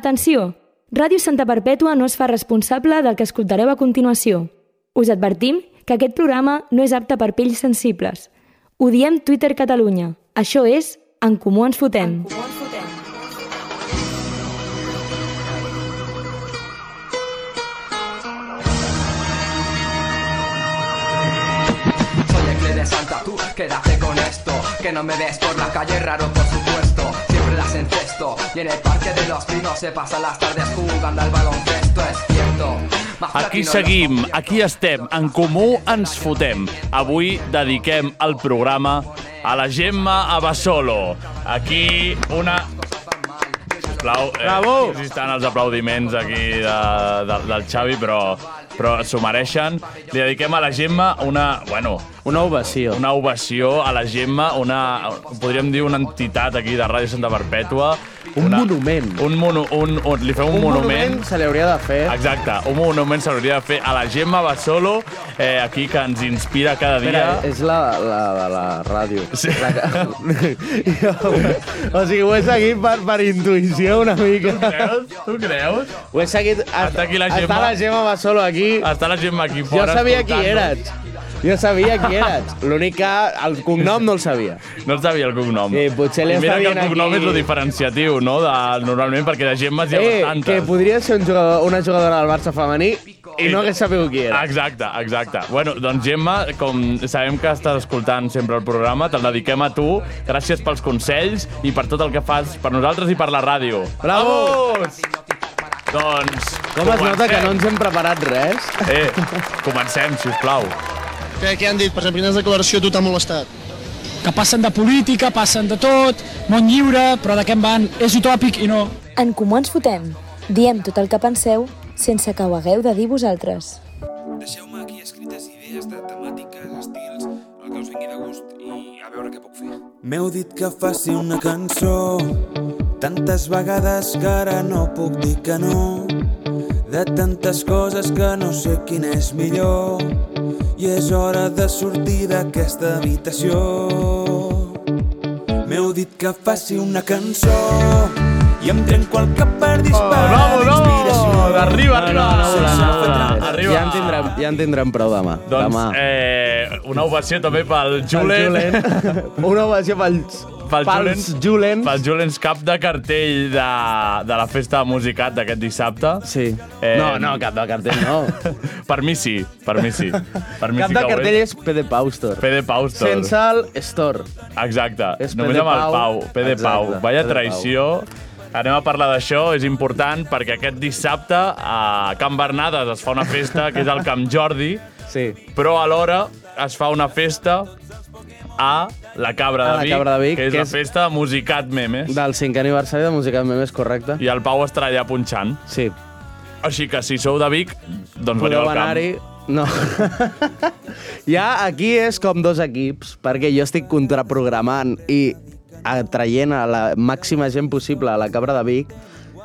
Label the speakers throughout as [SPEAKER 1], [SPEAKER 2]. [SPEAKER 1] Atenció! Ràdio Santa Perpètua no es fa responsable del que escoltareu a continuació. Us advertim que aquest programa no és apte per pells sensibles. Ho diem Twitter Catalunya. Això és En Comú Ens Fotem.
[SPEAKER 2] Soy el Cle de Santa, tú quédate con esto. Que no me ves por la calle, raro por supuesto. Siempre las encesto. Y en el parque de los pinos se pasan las tardes jugando al baloncesto, es cierto. Más
[SPEAKER 3] Aquí
[SPEAKER 2] platino en los
[SPEAKER 3] seguim,
[SPEAKER 2] conciertos.
[SPEAKER 3] aquí estem, en comú ens fotem. Avui dediquem el programa a la Gemma Abasolo. Aquí una... Sisplau, eh, Bravo! estan els aplaudiments aquí de, de, del Xavi, però, però s'ho mereixen. Li dediquem a la Gemma una... Bueno,
[SPEAKER 4] Una ovació.
[SPEAKER 3] una ovació a la Gemma, una, podríem dir una entitat aquí de Ràdio Santa Perpètua.
[SPEAKER 4] Un
[SPEAKER 3] una,
[SPEAKER 4] monument.
[SPEAKER 3] Un, monu, un, un, li fem un, monument
[SPEAKER 4] se li hauria de fer.
[SPEAKER 3] Exacte, un monument s'hauria de fer a la Gemma Basolo, eh, aquí que ens inspira cada
[SPEAKER 4] Espera,
[SPEAKER 3] dia.
[SPEAKER 4] és la, la de la ràdio. Sí. La que... Jo, o sigui, ho he seguit per, per intuïció una mica.
[SPEAKER 3] Creus? Tu creus?
[SPEAKER 4] Ho he seguit...
[SPEAKER 3] Està aquí la Gemma.
[SPEAKER 4] Està la Gemma va solo aquí.
[SPEAKER 3] Està la Gemma aquí
[SPEAKER 4] Jo
[SPEAKER 3] fora.
[SPEAKER 4] sabia qui
[SPEAKER 3] escoltant-nos.
[SPEAKER 4] eres. Jo sabia qui eres. L'únic que el cognom no el sabia.
[SPEAKER 3] No en sabia el cognom.
[SPEAKER 4] Sí, potser li
[SPEAKER 3] I Mira
[SPEAKER 4] està
[SPEAKER 3] que el
[SPEAKER 4] dient
[SPEAKER 3] cognom
[SPEAKER 4] aquí-
[SPEAKER 3] és el diferenciatiu, no? De, normalment, perquè de Gemmes hi ha
[SPEAKER 4] Eh,
[SPEAKER 3] bastantes.
[SPEAKER 4] que podria ser un jugador, una jugadora del Barça femení i no hagués sabut qui era.
[SPEAKER 3] Exacte, exacte. Bueno, doncs Gemma, com sabem que estàs escoltant sempre el programa, te'l dediquem a tu. Gràcies pels consells i per tot el que fas per nosaltres i per la ràdio.
[SPEAKER 4] Bravo!
[SPEAKER 3] Vamos! Doncs...
[SPEAKER 4] Com es nota que
[SPEAKER 3] comencem.
[SPEAKER 4] no ens hem preparat res?
[SPEAKER 3] Eh, comencem, si us plau.
[SPEAKER 5] Què, què han dit? Per exemple, quines declaracions a tu t'ha molestat?
[SPEAKER 6] que passen de política, passen de tot, món lliure, però de què en van? És utòpic i no.
[SPEAKER 1] En Comú Ens Fotem. Diem tot el que penseu sense que ho hagueu de dir vosaltres.
[SPEAKER 7] Deixeu-me aquí escrites idees de temàtiques, estils, el que us vingui de gust i a veure què puc fer.
[SPEAKER 8] M'heu dit que faci una cançó Tantes vegades que ara no puc dir que no De tantes coses que no sé quina és millor I és hora de sortir d'aquesta habitació M'heu dit que faci una cançó I em trenco el cap per disparar
[SPEAKER 3] Oh, bravo, bravo! Arriba, arriba,
[SPEAKER 4] No, no,
[SPEAKER 3] Sense
[SPEAKER 4] no, no,
[SPEAKER 3] fer
[SPEAKER 4] no,
[SPEAKER 3] trampa.
[SPEAKER 4] no.
[SPEAKER 3] Arriba.
[SPEAKER 4] Ja en tindrem, ja en tindrem prou demà.
[SPEAKER 3] Doncs
[SPEAKER 4] demà.
[SPEAKER 3] eh, una ovació també pel Julen.
[SPEAKER 4] Una ovació pels,
[SPEAKER 3] Pel
[SPEAKER 4] pels
[SPEAKER 3] Julens-
[SPEAKER 4] Julens.
[SPEAKER 3] Pel Julens cap de cartell de, de la festa de Musicat d'aquest dissabte.
[SPEAKER 4] Sí.
[SPEAKER 3] Eh,
[SPEAKER 4] no, no, cap de cartell no.
[SPEAKER 3] per mi sí, per mi sí. Per mi
[SPEAKER 4] cap
[SPEAKER 3] sí
[SPEAKER 4] de
[SPEAKER 3] que ho
[SPEAKER 4] cartell
[SPEAKER 3] és.
[SPEAKER 4] és PD Paustor.
[SPEAKER 3] P de Paustor.
[SPEAKER 4] Sense el Store.
[SPEAKER 3] Exacte,
[SPEAKER 4] és
[SPEAKER 3] només
[SPEAKER 4] P de
[SPEAKER 3] amb el
[SPEAKER 4] Pau.
[SPEAKER 3] Pau. P de
[SPEAKER 4] Exacte,
[SPEAKER 3] Pau. Vaya
[SPEAKER 4] P de Pau.
[SPEAKER 3] traïció. Anem a parlar d'això, és important, perquè aquest dissabte a Can Bernades es fa una festa, que és el Camp Jordi,
[SPEAKER 4] Sí.
[SPEAKER 3] però alhora es fa una festa a la Cabra
[SPEAKER 4] A
[SPEAKER 3] de
[SPEAKER 4] la
[SPEAKER 3] Vic,
[SPEAKER 4] Cabra de Vic,
[SPEAKER 3] que és
[SPEAKER 4] que
[SPEAKER 3] la
[SPEAKER 4] és-
[SPEAKER 3] festa de Musicat Memes.
[SPEAKER 4] Del cinquè aniversari de Música Meme és correcte.
[SPEAKER 3] I el Pau estarà allà punxant.
[SPEAKER 4] Sí.
[SPEAKER 3] Així que si sou de Vic, doncs veniu
[SPEAKER 4] Podeu
[SPEAKER 3] al camp.
[SPEAKER 4] anar-hi... No. ja aquí és com dos equips, perquè jo estic contraprogramant i atraient a la màxima gent possible a la Cabra de Vic,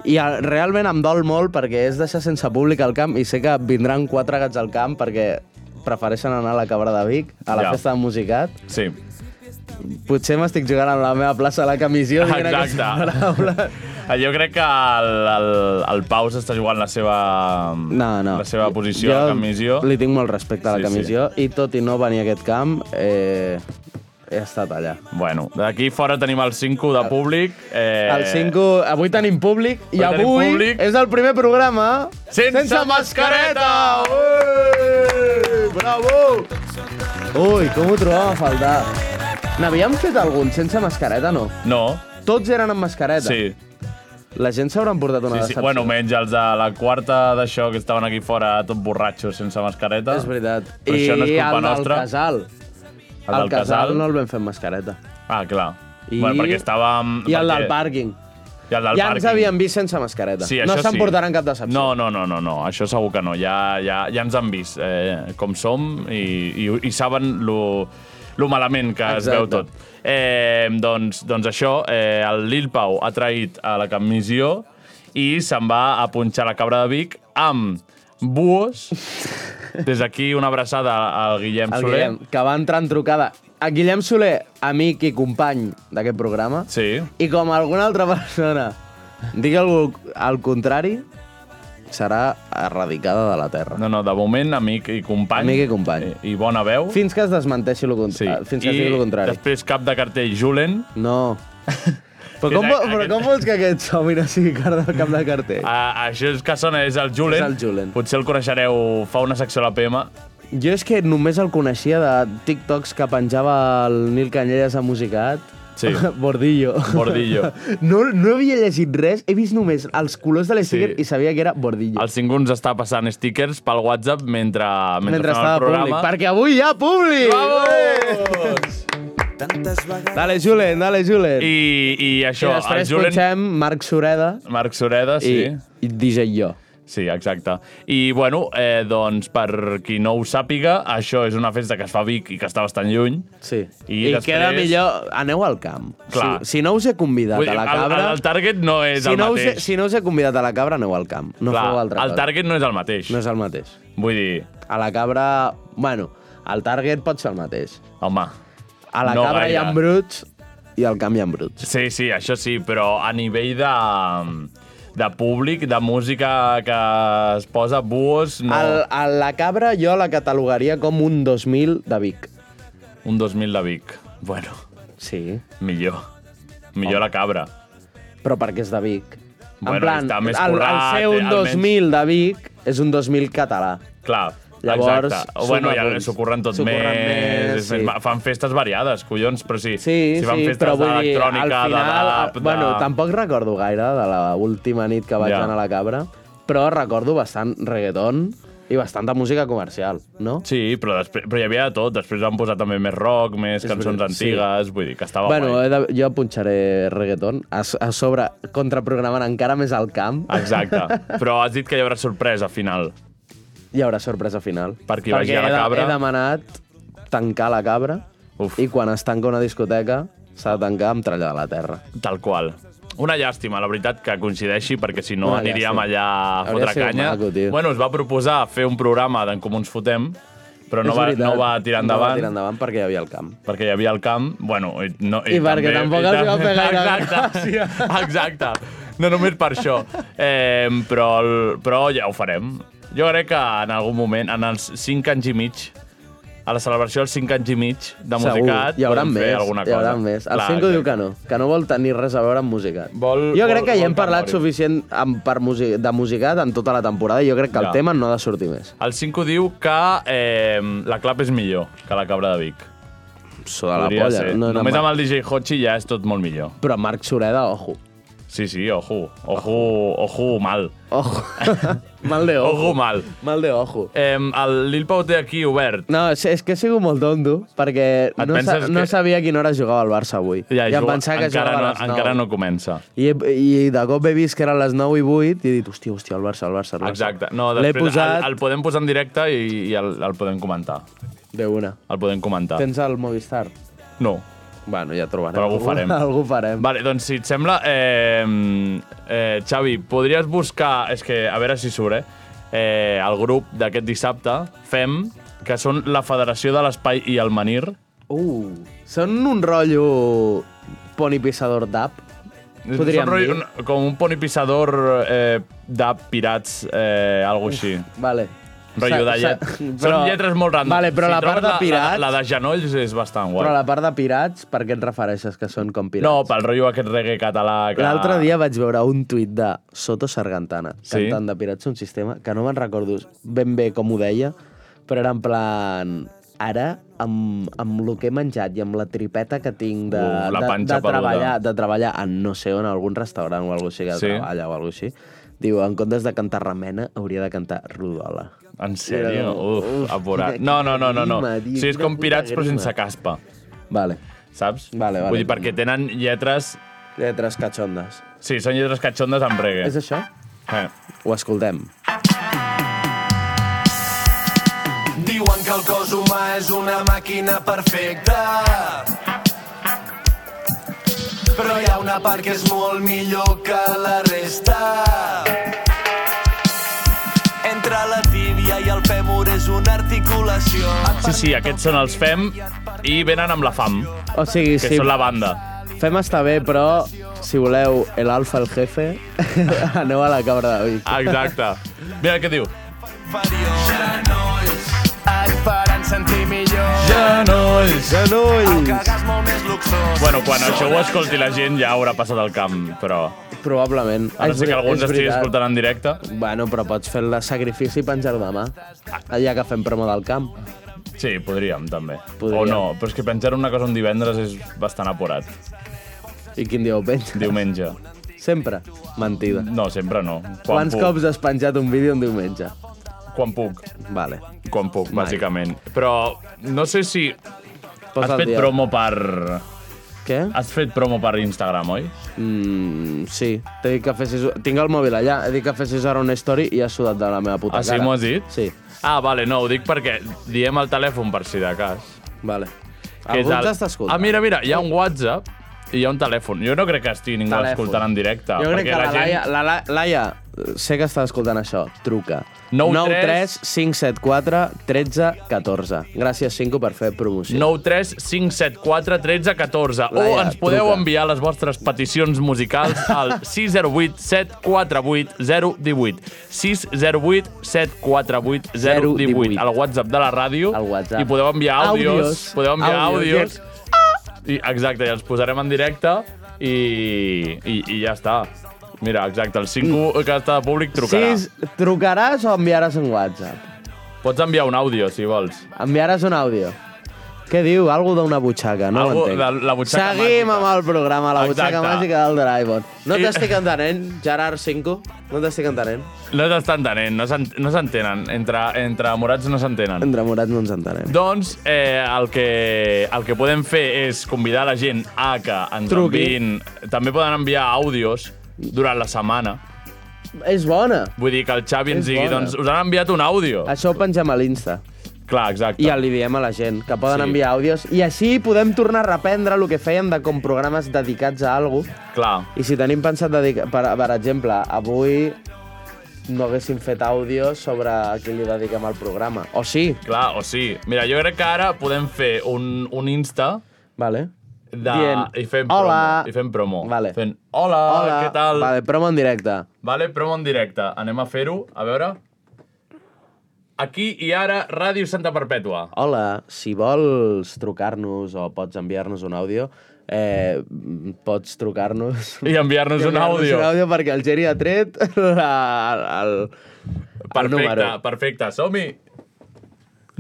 [SPEAKER 4] i a- realment em dol molt perquè és deixar sense públic al camp i sé que vindran quatre gats al camp perquè prefereixen anar a la Cabra de Vic, a la
[SPEAKER 3] Ja.
[SPEAKER 4] ja. festa de Musicat.
[SPEAKER 3] Sí.
[SPEAKER 4] Potser m'estic jugant amb la meva plaça a la camisó dient
[SPEAKER 3] Exacte.
[SPEAKER 4] aquestes paraules.
[SPEAKER 3] Ah, Jo crec que el, el, el Pau s'està jugant la seva,
[SPEAKER 4] No, no.
[SPEAKER 3] la seva posició
[SPEAKER 4] jo
[SPEAKER 3] a la comissió.
[SPEAKER 4] Li tinc molt respecte a la
[SPEAKER 3] Sí,
[SPEAKER 4] sí, camissió sí. i tot i no venir a aquest camp, eh, he estat allà.
[SPEAKER 3] Bueno, d'aquí fora tenim el 5 de públic. Eh,
[SPEAKER 4] Eh... El 5, avui tenim públic i
[SPEAKER 3] avui tenim
[SPEAKER 4] avui
[SPEAKER 3] públic.
[SPEAKER 4] és el primer programa
[SPEAKER 3] Sense mascareta!
[SPEAKER 4] Ui, bravo! Ui, com ho trobàvem a faltar. N'havíem fet algun sense mascareta, no?
[SPEAKER 3] No,
[SPEAKER 4] Tots eren amb mascareta.
[SPEAKER 3] sí.
[SPEAKER 4] La gent s'hauran portat una
[SPEAKER 3] sí, sí.
[SPEAKER 4] decepció.
[SPEAKER 3] Bueno, menys els de la quarta d'això que estaven aquí fora tot borratxos sense mascareta.
[SPEAKER 4] És veritat.
[SPEAKER 3] Però
[SPEAKER 4] I
[SPEAKER 3] això no és culpa
[SPEAKER 4] el del
[SPEAKER 3] nostra.
[SPEAKER 4] Casal.
[SPEAKER 3] El del Casal?
[SPEAKER 4] no el vam fer amb mascareta.
[SPEAKER 3] Ah, clar.
[SPEAKER 4] I-
[SPEAKER 3] Bueno, perquè estàvem...
[SPEAKER 4] I el del
[SPEAKER 3] perquè-
[SPEAKER 4] pàrquing.
[SPEAKER 3] I el del
[SPEAKER 4] ja ens
[SPEAKER 3] pàrquing.
[SPEAKER 4] havien vist sense mascareta.
[SPEAKER 3] Sí,
[SPEAKER 4] no
[SPEAKER 3] això sí.
[SPEAKER 4] s'emportaran cap decepció.
[SPEAKER 3] No, no, no, no, no, això segur que no. Ja, ja, ja ens han vist eh, com som i, i, i saben lo, lo malament que Exacte. es
[SPEAKER 4] Exacte.
[SPEAKER 3] veu tot. Eh, doncs, doncs això, eh, el Lil Pau ha traït a la comissió i se'n va a punxar la cabra de Vic amb buos. Des d'aquí una abraçada al Guillem
[SPEAKER 4] El
[SPEAKER 3] Soler.
[SPEAKER 4] Guillem, que va entrar en trucada. El Guillem Soler, amic i company d'aquest programa,
[SPEAKER 3] Sí.
[SPEAKER 4] i com alguna altra persona Digui algú al contrari, serà erradicada de la Terra.
[SPEAKER 3] No, no, de moment, amic i company. Eh,
[SPEAKER 4] Amic i company.
[SPEAKER 3] I, i bona veu.
[SPEAKER 4] Fins que es desmenteixi el contrari. Sí. Fins que es digui el contrari.
[SPEAKER 3] després cap de cartell Julen.
[SPEAKER 4] No. però, com,
[SPEAKER 3] Aquest-
[SPEAKER 4] vo- però com vols que aquest somni no sigui cara del cap de cartell?
[SPEAKER 3] A, Eh. Ah, això és que sona, és el Julen.
[SPEAKER 4] És el Julen.
[SPEAKER 3] Potser el coneixereu, fa una secció a la PM.
[SPEAKER 4] Jo és que només el coneixia de TikToks que penjava el Nil Canyelles a Musicat.
[SPEAKER 3] Sí.
[SPEAKER 4] Bordillo.
[SPEAKER 3] Bordillo.
[SPEAKER 4] No, no havia llegit res, he vist només els colors de l'esticker sí. i sabia que era Bordillo.
[SPEAKER 3] El 5 ens està passant stickers pel WhatsApp mentre, mentre, fem
[SPEAKER 4] Mentre
[SPEAKER 3] el
[SPEAKER 4] estava públic.
[SPEAKER 3] programa.
[SPEAKER 4] Perquè avui hi ha públic!
[SPEAKER 3] Vamos!
[SPEAKER 8] Tantes vegades...
[SPEAKER 4] Dale, Julen, dale, Julen.
[SPEAKER 3] I, I això,
[SPEAKER 4] I
[SPEAKER 3] el
[SPEAKER 4] després
[SPEAKER 3] Julen...
[SPEAKER 4] punxem Marc Sureda
[SPEAKER 3] Marc Sureda, sí.
[SPEAKER 4] i, i DJ jo.
[SPEAKER 3] Sí, exacte. I, bueno, eh, doncs, per qui no ho sàpiga, això és una festa que es fa a Vic i que està bastant lluny.
[SPEAKER 4] Sí.
[SPEAKER 3] I
[SPEAKER 4] I, I
[SPEAKER 3] després-
[SPEAKER 4] queda millor... Aneu al camp.
[SPEAKER 3] Clar.
[SPEAKER 4] Si, si no us he convidat
[SPEAKER 3] Vull
[SPEAKER 4] a
[SPEAKER 3] dir,
[SPEAKER 4] la
[SPEAKER 3] el-
[SPEAKER 4] cabra...
[SPEAKER 3] el- el target no és
[SPEAKER 4] si
[SPEAKER 3] el
[SPEAKER 4] no
[SPEAKER 3] mateix.
[SPEAKER 4] Us he, si no us he convidat a la cabra, aneu al camp. No
[SPEAKER 3] Clar,
[SPEAKER 4] feu altra
[SPEAKER 3] el
[SPEAKER 4] cosa.
[SPEAKER 3] target no és el mateix.
[SPEAKER 4] No és el mateix.
[SPEAKER 3] Vull dir,
[SPEAKER 4] A la cabra... Bueno, el target pot ser el mateix.
[SPEAKER 3] home...
[SPEAKER 4] A la
[SPEAKER 3] no
[SPEAKER 4] cabra
[SPEAKER 3] gaire.
[SPEAKER 4] hi ha bruts i al camp hi ha bruts.
[SPEAKER 3] Sí, sí, això sí, però a nivell de, de públic, de música que es posa, buos, no,
[SPEAKER 4] El,
[SPEAKER 3] el...
[SPEAKER 4] a la cabra jo la catalogaria com un 2000 de Vic.
[SPEAKER 3] un 2000 de Vic. Bueno,
[SPEAKER 4] Sí.
[SPEAKER 3] millor. Millor la cabra.
[SPEAKER 4] Però perquè és de Vic.
[SPEAKER 3] Bueno,
[SPEAKER 4] en plan,
[SPEAKER 3] està més
[SPEAKER 4] el, el
[SPEAKER 3] currat,
[SPEAKER 4] seu
[SPEAKER 3] eh,
[SPEAKER 4] un
[SPEAKER 3] almenys.
[SPEAKER 4] 2000 de Vic és un 2000 català.
[SPEAKER 3] Clar,
[SPEAKER 4] Llavors,
[SPEAKER 3] exacte.
[SPEAKER 4] suma
[SPEAKER 3] Bueno, ja
[SPEAKER 4] punts.
[SPEAKER 3] s'ho curren tot
[SPEAKER 4] S'ho
[SPEAKER 3] més,
[SPEAKER 4] curren més,
[SPEAKER 3] més, sí.
[SPEAKER 4] sí.
[SPEAKER 3] fan festes variades, collons, però sí,
[SPEAKER 4] Sí,
[SPEAKER 3] si fan
[SPEAKER 4] sí,
[SPEAKER 3] festes
[SPEAKER 4] però vull dir, al
[SPEAKER 3] d'electrònica,
[SPEAKER 4] final...
[SPEAKER 3] de rap, de...
[SPEAKER 4] Bueno, tampoc recordo gaire de l'última nit que vaig
[SPEAKER 3] Ja.
[SPEAKER 4] ja. anar a la cabra, però recordo bastant reggaeton i bastanta música comercial, no?
[SPEAKER 3] Sí, però, després, però hi havia de tot. Després van posar també més rock, més
[SPEAKER 4] És
[SPEAKER 3] cançons
[SPEAKER 4] veritat, sí.
[SPEAKER 3] antigues, vull dir que estava
[SPEAKER 4] bueno,
[SPEAKER 3] guai.
[SPEAKER 4] he de, jo punxaré reggaeton, a, so- a sobre contraprogramant encara més al camp.
[SPEAKER 3] Ah. Exacte. Però has dit que hi haurà sorpresa al final.
[SPEAKER 4] Hi haurà sorpresa final.
[SPEAKER 3] Per qui vagi a la
[SPEAKER 4] he de-
[SPEAKER 3] cabra.
[SPEAKER 4] he demanat tancar la cabra
[SPEAKER 3] Uf.
[SPEAKER 4] i quan es tanca una discoteca s'ha de tancar amb tralla de la terra.
[SPEAKER 3] Tal qual. Una llàstima, la veritat, que coincideixi, perquè si no
[SPEAKER 4] Una
[SPEAKER 3] aniríem
[SPEAKER 4] llàstima.
[SPEAKER 3] allà a
[SPEAKER 4] Hauria
[SPEAKER 3] fotre
[SPEAKER 4] sigut
[SPEAKER 3] canya.
[SPEAKER 4] maco, tio.
[SPEAKER 3] bueno, es va proposar fer un programa d'en Comú ens fotem, però no
[SPEAKER 4] És
[SPEAKER 3] va,
[SPEAKER 4] veritat,
[SPEAKER 3] no va tirar endavant.
[SPEAKER 4] No va tirar endavant perquè hi havia el camp.
[SPEAKER 3] perquè hi havia el camp, bueno... I, no,
[SPEAKER 4] I perquè tampoc els hi va fer gaire
[SPEAKER 3] Exacte, exacte. No només per això. Eh, però, el, però ja ho farem. Jo crec que en algun moment, en els 5 anys i mig, a la celebració dels 5 anys i mig de Musicat,
[SPEAKER 4] hi haurà
[SPEAKER 3] podem
[SPEAKER 4] més,
[SPEAKER 3] fer alguna cosa.
[SPEAKER 4] Hi haurà més. El
[SPEAKER 3] Clar,
[SPEAKER 4] 5 diu
[SPEAKER 3] exacte.
[SPEAKER 4] que no, que no vol tenir res a veure amb musicat.
[SPEAKER 3] Vol-
[SPEAKER 4] jo
[SPEAKER 3] vol-
[SPEAKER 4] crec que
[SPEAKER 3] vol
[SPEAKER 4] ja hem
[SPEAKER 3] que
[SPEAKER 4] parlat
[SPEAKER 3] mori.
[SPEAKER 4] suficient amb, per music, de musicat en tota la temporada i jo crec que
[SPEAKER 3] Ja.
[SPEAKER 4] el tema no ha de sortir més.
[SPEAKER 3] El 5 diu que eh, la clap és millor que la cabra de Vic.
[SPEAKER 4] Sota la
[SPEAKER 3] Podria
[SPEAKER 4] polla.
[SPEAKER 3] ser.
[SPEAKER 4] No, no,
[SPEAKER 3] Només
[SPEAKER 4] no,
[SPEAKER 3] amb el DJ Hochi ja és tot molt millor.
[SPEAKER 4] Però Marc Sureda, ojo.
[SPEAKER 3] Sí, sí, ojo. Ojo, ojo mal.
[SPEAKER 4] Ojo. mal de ojo.
[SPEAKER 3] Ojo mal.
[SPEAKER 4] Mal de ojo.
[SPEAKER 3] Eh, el Lil Pau té aquí obert.
[SPEAKER 4] No, és, és que he sigut molt dondo, perquè
[SPEAKER 3] Et
[SPEAKER 4] no, sa,
[SPEAKER 3] penses
[SPEAKER 4] no
[SPEAKER 3] que-
[SPEAKER 4] sabia a quina hora jugava el Barça avui. I em
[SPEAKER 3] juga-
[SPEAKER 4] pensava que
[SPEAKER 3] encara
[SPEAKER 4] jugava
[SPEAKER 3] no,
[SPEAKER 4] a les 9.
[SPEAKER 3] Encara no comença.
[SPEAKER 4] I, he- I de cop he vist que eren les 9 i 8 i he dit, hòstia, hòstia, el Barça, el Barça, el Barça.
[SPEAKER 3] Exacte. No,
[SPEAKER 4] L'he
[SPEAKER 3] després
[SPEAKER 4] posat
[SPEAKER 3] el, el podem posar en directe i, i el, el podem comentar.
[SPEAKER 4] de una.
[SPEAKER 3] El podem comentar.
[SPEAKER 4] Tens el Movistar?
[SPEAKER 3] No.
[SPEAKER 4] Bueno, ja trobarem.
[SPEAKER 3] Però algú farem.
[SPEAKER 4] Algú farem.
[SPEAKER 3] Vale, doncs si et sembla, eh, eh, Xavi, podries buscar... És que, a veure si surt, eh? eh el grup d'aquest dissabte fem que són la Federació de l'Espai i el Manir.
[SPEAKER 4] Uh, són un rotllo poni pissador d'app. Podríem
[SPEAKER 3] Són rotllo-
[SPEAKER 4] dir.
[SPEAKER 3] un- com un ponipissador eh, de pirats, eh, alguna així.
[SPEAKER 4] Vale.
[SPEAKER 3] Rotllo
[SPEAKER 4] Sa-
[SPEAKER 3] de llet.
[SPEAKER 4] sa-
[SPEAKER 3] Són lletres molt random.
[SPEAKER 4] Vale, però
[SPEAKER 3] Si
[SPEAKER 4] la
[SPEAKER 3] trobes
[SPEAKER 4] part de pirats...
[SPEAKER 3] La, la, la de genolls és bastant guai.
[SPEAKER 4] Però la part de pirats, per què et refereixes que són com pirats?
[SPEAKER 3] No, pel rotllo aquest reggae català que...
[SPEAKER 4] L'altre dia vaig veure un tuit de Soto Sargantana,
[SPEAKER 3] Sí?
[SPEAKER 4] sí? cantant de Pirats un sistema, que no me'n recordo ben bé com ho deia, però era en plan... Ara, amb, amb el que he menjat i amb la tripeta que tinc de,
[SPEAKER 3] Uf, la
[SPEAKER 4] de,
[SPEAKER 3] panxa
[SPEAKER 4] de,
[SPEAKER 3] peluda.
[SPEAKER 4] treballar, de treballar en no sé on, algun restaurant o alguna cosa així, que
[SPEAKER 3] Sí.
[SPEAKER 4] sí. treballa o alguna cosa així, diu, en comptes de cantar remena, hauria de cantar rodola.
[SPEAKER 3] En sèrio?
[SPEAKER 4] Era-
[SPEAKER 3] Uf,
[SPEAKER 4] Uf,
[SPEAKER 3] apurat.
[SPEAKER 4] quina-
[SPEAKER 3] No, no, no, no. no.
[SPEAKER 4] grima, tio,
[SPEAKER 3] Sí, és
[SPEAKER 4] quina
[SPEAKER 3] com
[SPEAKER 4] puta
[SPEAKER 3] pirats però
[SPEAKER 4] grima.
[SPEAKER 3] sense caspa,
[SPEAKER 4] Vale.
[SPEAKER 3] saps?
[SPEAKER 4] Vale, vale.
[SPEAKER 3] Vull dir, perquè tenen lletres...
[SPEAKER 4] Lletres catxondes.
[SPEAKER 3] Sí, són lletres catxondes amb reggae.
[SPEAKER 4] És això?
[SPEAKER 3] Eh.
[SPEAKER 4] Ho escoltem.
[SPEAKER 2] Diuen que el cos humà és una màquina perfecta Però hi ha una part que és molt millor que la resta Entre la tíbia i el fèmur és una articulació
[SPEAKER 3] Sí, sí, aquests són els FEM i venen amb la FAM,
[SPEAKER 4] O sigui,
[SPEAKER 3] que
[SPEAKER 4] si
[SPEAKER 3] són la banda.
[SPEAKER 4] Fem està bé, però si si voleu el alfa, el jefe, aneu a la cabra de Vic.
[SPEAKER 3] Exacte. Mira què diu.
[SPEAKER 7] Genolls et faran sentir millor.
[SPEAKER 3] Genolls.
[SPEAKER 4] Genolls!
[SPEAKER 7] Cagas molt més luxós.
[SPEAKER 3] Bueno, quan això ho escolti la gent ja haurà passat el camp, però...
[SPEAKER 4] Probablement.
[SPEAKER 3] A no
[SPEAKER 4] És
[SPEAKER 3] ser que
[SPEAKER 4] ver-
[SPEAKER 3] algú ens
[SPEAKER 4] és
[SPEAKER 3] estigui
[SPEAKER 4] veritat.
[SPEAKER 3] escoltant en directe.
[SPEAKER 4] Bueno, però pots fer el sacrifici i penjar-ho demà. Allà que fem promo del camp.
[SPEAKER 3] Sí, podríem, també. O
[SPEAKER 4] Podríem.
[SPEAKER 3] no, però és que penjar una cosa un divendres és bastant apurat.
[SPEAKER 4] I quin dia ho penja?
[SPEAKER 3] Diumenge.
[SPEAKER 4] Sempre. Mentida.
[SPEAKER 3] No, sempre no. Quan
[SPEAKER 4] Quants
[SPEAKER 3] puc.
[SPEAKER 4] cops has penjat un vídeo un diumenge?
[SPEAKER 3] Quan puc.
[SPEAKER 4] Vale.
[SPEAKER 3] Quan puc,
[SPEAKER 4] Mai.
[SPEAKER 3] bàsicament. Però no sé si... Has
[SPEAKER 4] Posa el
[SPEAKER 3] fet
[SPEAKER 4] dia.
[SPEAKER 3] promo per...
[SPEAKER 4] Què?
[SPEAKER 3] Has fet promo per Instagram, oi?
[SPEAKER 4] Mm, sí. T'he dit que fessis... Tinc el mòbil allà. He dit que fessis ara una story i has sudat de la meva puta
[SPEAKER 3] Ah, sí,
[SPEAKER 4] cara.
[SPEAKER 3] m'ho has dit?
[SPEAKER 4] Sí.
[SPEAKER 3] Ah, vale, no, ho dic perquè diem el telèfon per si de cas.
[SPEAKER 4] Vale.
[SPEAKER 3] que és
[SPEAKER 4] Algú
[SPEAKER 3] el-
[SPEAKER 4] ens està escoltant.
[SPEAKER 3] Ah, mira, mira, hi ha un WhatsApp i hi ha un telèfon. Jo no crec que estigui ningú
[SPEAKER 4] Telèfon.
[SPEAKER 3] escoltant en directe.
[SPEAKER 4] Jo crec
[SPEAKER 3] perquè
[SPEAKER 4] que la,
[SPEAKER 3] gent...
[SPEAKER 4] Laia, la, la, Laia, sé que està escoltant això, truca.
[SPEAKER 3] 93
[SPEAKER 4] 574 13 14. Gràcies, Cinco, per fer promoció.
[SPEAKER 3] 93 574 13 14 o
[SPEAKER 4] Laia,
[SPEAKER 3] ens podeu
[SPEAKER 4] truca.
[SPEAKER 3] enviar les vostres peticions musicals al 608 748 018 608 748 018
[SPEAKER 4] 018.
[SPEAKER 3] al WhatsApp de la ràdio
[SPEAKER 4] Al WhatsApp.
[SPEAKER 3] i podeu enviar àudios,
[SPEAKER 4] Àudios.
[SPEAKER 3] podeu enviar
[SPEAKER 4] Àudios,
[SPEAKER 3] àudios, I, exacte, i els posarem en directe i, i, i ja està Mira, exacte, el 5 que està de públic trucarà.
[SPEAKER 4] Sis, trucaràs o enviaràs un WhatsApp?
[SPEAKER 3] Pots enviar un àudio, si vols.
[SPEAKER 4] Enviaràs un àudio. Què diu? Algo d'una butxaca, no
[SPEAKER 3] Algo
[SPEAKER 4] ho entenc.
[SPEAKER 3] de la butxaca
[SPEAKER 4] Seguim
[SPEAKER 3] màgica.
[SPEAKER 4] amb el programa, la butxaca
[SPEAKER 3] Exacte.
[SPEAKER 4] màgica del Dragon. No
[SPEAKER 3] I-
[SPEAKER 4] t'estic entenent, Gerard Cinco? No t'estic entenent?
[SPEAKER 3] No t'estan entenent, no s'en- no s'entenen. entre, entre morats no s'entenen.
[SPEAKER 4] Entre morats no ens entenem.
[SPEAKER 3] Doncs eh, el, que, el que podem fer és convidar la gent a que ens
[SPEAKER 4] Truqui.
[SPEAKER 3] enviïn... També poden enviar àudios durant la setmana.
[SPEAKER 4] És bona.
[SPEAKER 3] Vull dir que el Xavi ens
[SPEAKER 4] És
[SPEAKER 3] digui,
[SPEAKER 4] bona.
[SPEAKER 3] doncs, us han enviat un àudio.
[SPEAKER 4] Això ho pengem a l'Insta.
[SPEAKER 3] Clar, exacte.
[SPEAKER 4] I li diem a la gent que poden
[SPEAKER 3] Sí.
[SPEAKER 4] sí. enviar àudios i així podem tornar a reprendre el que fèiem de com programes dedicats a algo.
[SPEAKER 3] Clar.
[SPEAKER 4] I si tenim pensat, dedicar, per, per exemple, avui no haguéssim fet àudio sobre a qui li dediquem el programa. O sí,
[SPEAKER 3] Clar, o sí. Mira, jo crec que ara podem fer un, un Insta
[SPEAKER 4] vale.
[SPEAKER 3] de...
[SPEAKER 4] Dient,
[SPEAKER 3] i fem
[SPEAKER 4] "Hola".
[SPEAKER 3] promo. I fem promo.
[SPEAKER 4] Vale.
[SPEAKER 3] Fent, hola,
[SPEAKER 4] Hola,
[SPEAKER 3] què tal?
[SPEAKER 4] Vale, promo en directe.
[SPEAKER 3] Vale, promo en directe. Anem a fer-ho, a veure. Aquí i ara, Ràdio Santa Perpètua.
[SPEAKER 4] Hola, si vols trucar-nos o pots enviar-nos un àudio, eh, pots trucar-nos...
[SPEAKER 3] I enviar-nos un
[SPEAKER 4] enviar-nos
[SPEAKER 3] àudio.
[SPEAKER 4] Un àudio perquè el Geri ha tret la, el, el
[SPEAKER 3] Perfecte,
[SPEAKER 4] número.
[SPEAKER 3] perfecte, som-hi!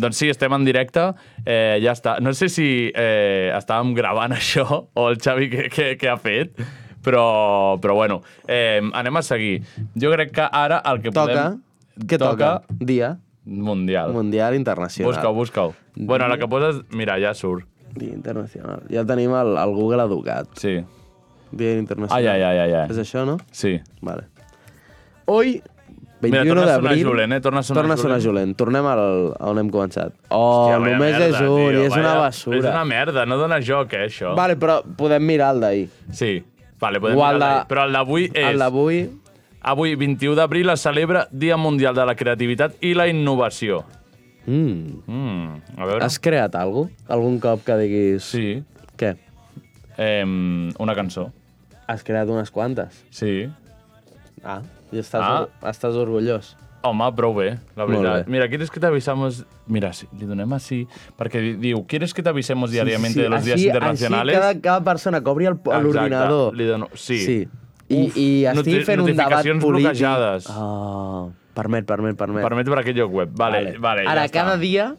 [SPEAKER 3] Doncs sí, estem en directe, eh, ja està. No sé si eh, estàvem gravant això o el Xavi que, que, que ha fet, però, però bueno, eh, anem a seguir. Jo crec que ara el que
[SPEAKER 4] Toca.
[SPEAKER 3] podem...
[SPEAKER 4] Què toca? Dia
[SPEAKER 3] Mundial.
[SPEAKER 4] Mundial Internacional.
[SPEAKER 3] Busca-ho, busca-ho. Bueno, la que poses... Mira, ja surt.
[SPEAKER 4] Dia Internacional. Ja tenim el, el Google educat.
[SPEAKER 3] Sí,
[SPEAKER 4] Dia Internacional.
[SPEAKER 3] Ai, ai, ai, ai, ai.
[SPEAKER 4] És això, no?
[SPEAKER 3] sí.
[SPEAKER 4] Vale. Hoy, 21
[SPEAKER 3] torna a sonar
[SPEAKER 4] d'abril...
[SPEAKER 3] Julen, eh? Torna a sonar Julen.
[SPEAKER 4] Julent. Tornem al, a on hem començat. Oh,
[SPEAKER 3] Hòstia, vaya
[SPEAKER 4] només és
[SPEAKER 3] tio,
[SPEAKER 4] un i és
[SPEAKER 3] vaya-
[SPEAKER 4] una basura.
[SPEAKER 3] És una merda, no dona joc, eh, això.
[SPEAKER 4] Vale, però podem mirar el d'ahir.
[SPEAKER 3] Sí, vale, podem
[SPEAKER 4] O
[SPEAKER 3] mirar
[SPEAKER 4] el de-
[SPEAKER 3] l'ahir. Però el d'avui és...
[SPEAKER 4] El d'avui...
[SPEAKER 3] Avui, 21 d'abril, es celebra Dia Mundial de la Creativitat i la Innovació.
[SPEAKER 4] Mm,
[SPEAKER 3] Mm, a veure...
[SPEAKER 4] has creat alguna Algun cop que diguis...
[SPEAKER 3] Sí.
[SPEAKER 4] Què?
[SPEAKER 3] Eh, una cançó.
[SPEAKER 4] Has creat unes quantes.
[SPEAKER 3] Sí.
[SPEAKER 4] Ah, i estàs,
[SPEAKER 3] Ah.
[SPEAKER 4] or estàs orgullós.
[SPEAKER 3] Home, prou bé, la
[SPEAKER 4] Molt
[SPEAKER 3] veritat.
[SPEAKER 4] bé.
[SPEAKER 3] Mira, ¿quieres que te avisamos...? Mira, sí, li donem així, perquè di- diu ¿Quieres que te avisemos diariamente de los días
[SPEAKER 4] així-
[SPEAKER 3] internacionales?
[SPEAKER 4] Així cada, cada persona que obri el-
[SPEAKER 3] Exacte,
[SPEAKER 4] l'ordinador.
[SPEAKER 3] li dono- sí.
[SPEAKER 4] sí. I,
[SPEAKER 3] Uf,
[SPEAKER 4] I estic
[SPEAKER 3] noti-
[SPEAKER 4] fent un debat
[SPEAKER 3] notificacions
[SPEAKER 4] polític.
[SPEAKER 3] bloquejades.
[SPEAKER 4] Oh, permet, permet, permet.
[SPEAKER 3] Permet per aquell lloc web. Vale, vale, ja
[SPEAKER 4] Ara,
[SPEAKER 3] està.
[SPEAKER 4] cada dia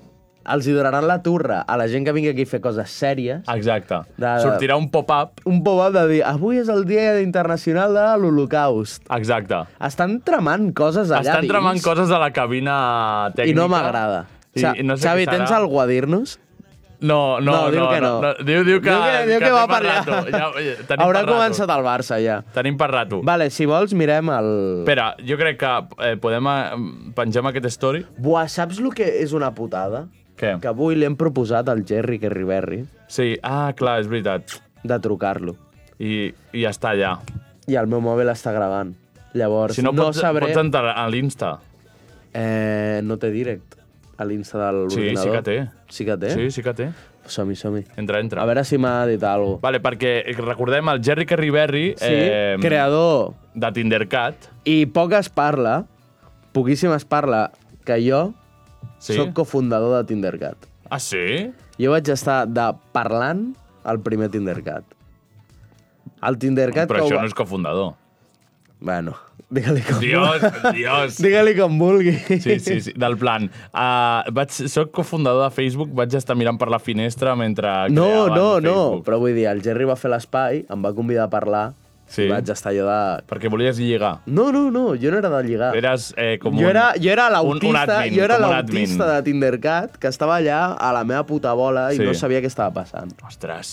[SPEAKER 4] els hi donaran la turra a la gent que vingui aquí a fer coses sèries.
[SPEAKER 3] Exacte.
[SPEAKER 4] De- de-
[SPEAKER 3] Sortirà un pop-up.
[SPEAKER 4] Un pop-up de dir, avui és el dia internacional de l'Holocaust.
[SPEAKER 3] Exacte.
[SPEAKER 4] Estan tramant coses allà
[SPEAKER 3] Estan
[SPEAKER 4] dins.
[SPEAKER 3] tramant coses a la cabina tècnica.
[SPEAKER 4] I no m'agrada.
[SPEAKER 3] I-
[SPEAKER 4] Xa-
[SPEAKER 3] i no sé què
[SPEAKER 4] Xavi,
[SPEAKER 3] serà.
[SPEAKER 4] tens algú a dir-nos?
[SPEAKER 3] No, no, no,
[SPEAKER 4] No, diu que no.
[SPEAKER 3] Diu, diu que,
[SPEAKER 4] Diu que- diu que
[SPEAKER 3] té
[SPEAKER 4] va
[SPEAKER 3] per
[SPEAKER 4] per allà.
[SPEAKER 3] rato. Ja, eh, tenim
[SPEAKER 4] Haurà
[SPEAKER 3] per rato.
[SPEAKER 4] començat el Barça, ja.
[SPEAKER 3] Tenim per rato. Va.
[SPEAKER 4] Vale, si vols, mirem el...
[SPEAKER 3] Espera, jo crec que eh, podem eh, pengem aquest story.
[SPEAKER 4] Buah, saps el que és una putada?
[SPEAKER 3] Què?
[SPEAKER 4] Que avui li hem proposat al Jerry Kerriberri
[SPEAKER 3] Sí, ah, clar, és veritat.
[SPEAKER 4] de trucar-lo.
[SPEAKER 3] I, i ja està allà.
[SPEAKER 4] I el meu mòbil està gravant. Llavors,
[SPEAKER 3] Si no,
[SPEAKER 4] no
[SPEAKER 3] pots,
[SPEAKER 4] sabré...
[SPEAKER 3] pots entrar a l'Insta.
[SPEAKER 4] Eh, no té direct a l'insta de
[SPEAKER 3] Sí,
[SPEAKER 4] l'ordinador.
[SPEAKER 3] sí que té.
[SPEAKER 4] Sí que té?
[SPEAKER 3] Sí, sí que té.
[SPEAKER 4] Som-hi, som-hi.
[SPEAKER 3] Entra, entra.
[SPEAKER 4] A veure si m'ha dit alguna cosa.
[SPEAKER 3] Vale, perquè recordem el Jerry Carriberri,
[SPEAKER 4] Sí, creador.
[SPEAKER 3] de Tindercat.
[SPEAKER 4] I poc es parla, poquíssim es parla, que jo
[SPEAKER 3] Sí?
[SPEAKER 4] sí. sóc cofundador de Tindercat.
[SPEAKER 3] Ah, sí?
[SPEAKER 4] Jo vaig estar de parlant al primer Tindercat. El Tindercat...
[SPEAKER 3] Però
[SPEAKER 4] que ho
[SPEAKER 3] això
[SPEAKER 4] va-
[SPEAKER 3] no és cofundador.
[SPEAKER 4] Bueno, digue-li com,
[SPEAKER 3] Dios, Dios.
[SPEAKER 4] digue com vulgui.
[SPEAKER 3] Sí, sí, sí, del plan. Uh, vaig, soc cofundador de Facebook, vaig estar mirant per la finestra mentre
[SPEAKER 4] No,
[SPEAKER 3] creaven
[SPEAKER 4] no, no,
[SPEAKER 3] Facebook.
[SPEAKER 4] però vull dir, el Gerri va fer l'espai, em va convidar a parlar,
[SPEAKER 3] Sí.
[SPEAKER 4] i vaig estar jo de...
[SPEAKER 3] Perquè volies lligar.
[SPEAKER 4] No, no, no, jo no era de lligar.
[SPEAKER 3] Eres eh, com
[SPEAKER 4] jo,
[SPEAKER 3] un,
[SPEAKER 4] era, jo era
[SPEAKER 3] un,
[SPEAKER 4] l'autista,
[SPEAKER 3] un admin,
[SPEAKER 4] jo era
[SPEAKER 3] com un
[SPEAKER 4] l'autista de
[SPEAKER 3] admin.
[SPEAKER 4] Tindercat que estava allà a la meva puta bola i
[SPEAKER 3] Sí.
[SPEAKER 4] no sabia què estava passant.
[SPEAKER 3] Ostres.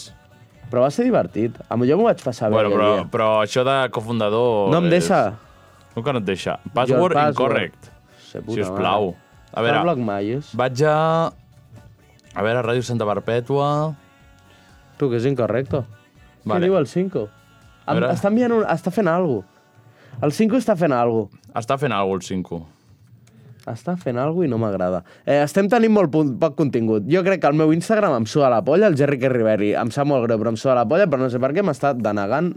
[SPEAKER 4] Però va ser divertit. A mi jo m'ho vaig passar bé
[SPEAKER 3] Bueno,
[SPEAKER 4] aquell
[SPEAKER 3] però,
[SPEAKER 4] dia.
[SPEAKER 3] però això de cofundador...
[SPEAKER 4] No em deixa.
[SPEAKER 3] És... Com que no et deixa? Password,
[SPEAKER 4] password.
[SPEAKER 3] incorrect.
[SPEAKER 4] Se puta
[SPEAKER 3] Si us plau.
[SPEAKER 4] A
[SPEAKER 3] A veure,
[SPEAKER 4] Bloc Maius.
[SPEAKER 3] vaig a... A veure, Ràdio Santa Perpètua...
[SPEAKER 4] Tu, que és incorrecto. Vale.
[SPEAKER 3] Vale.
[SPEAKER 4] Què diu el 5?
[SPEAKER 3] A veure.
[SPEAKER 4] Està, enviant un... està fent alguna El 5 està fent alguna
[SPEAKER 3] Està fent alguna cosa, el 5.
[SPEAKER 4] Està fent alguna i no m'agrada. Eh, estem tenint molt punt, poc contingut. Jo crec que el meu Instagram em suda la polla, el Jerry Riveri em sap molt greu, però em suda la polla, però no sé per què m'està denegant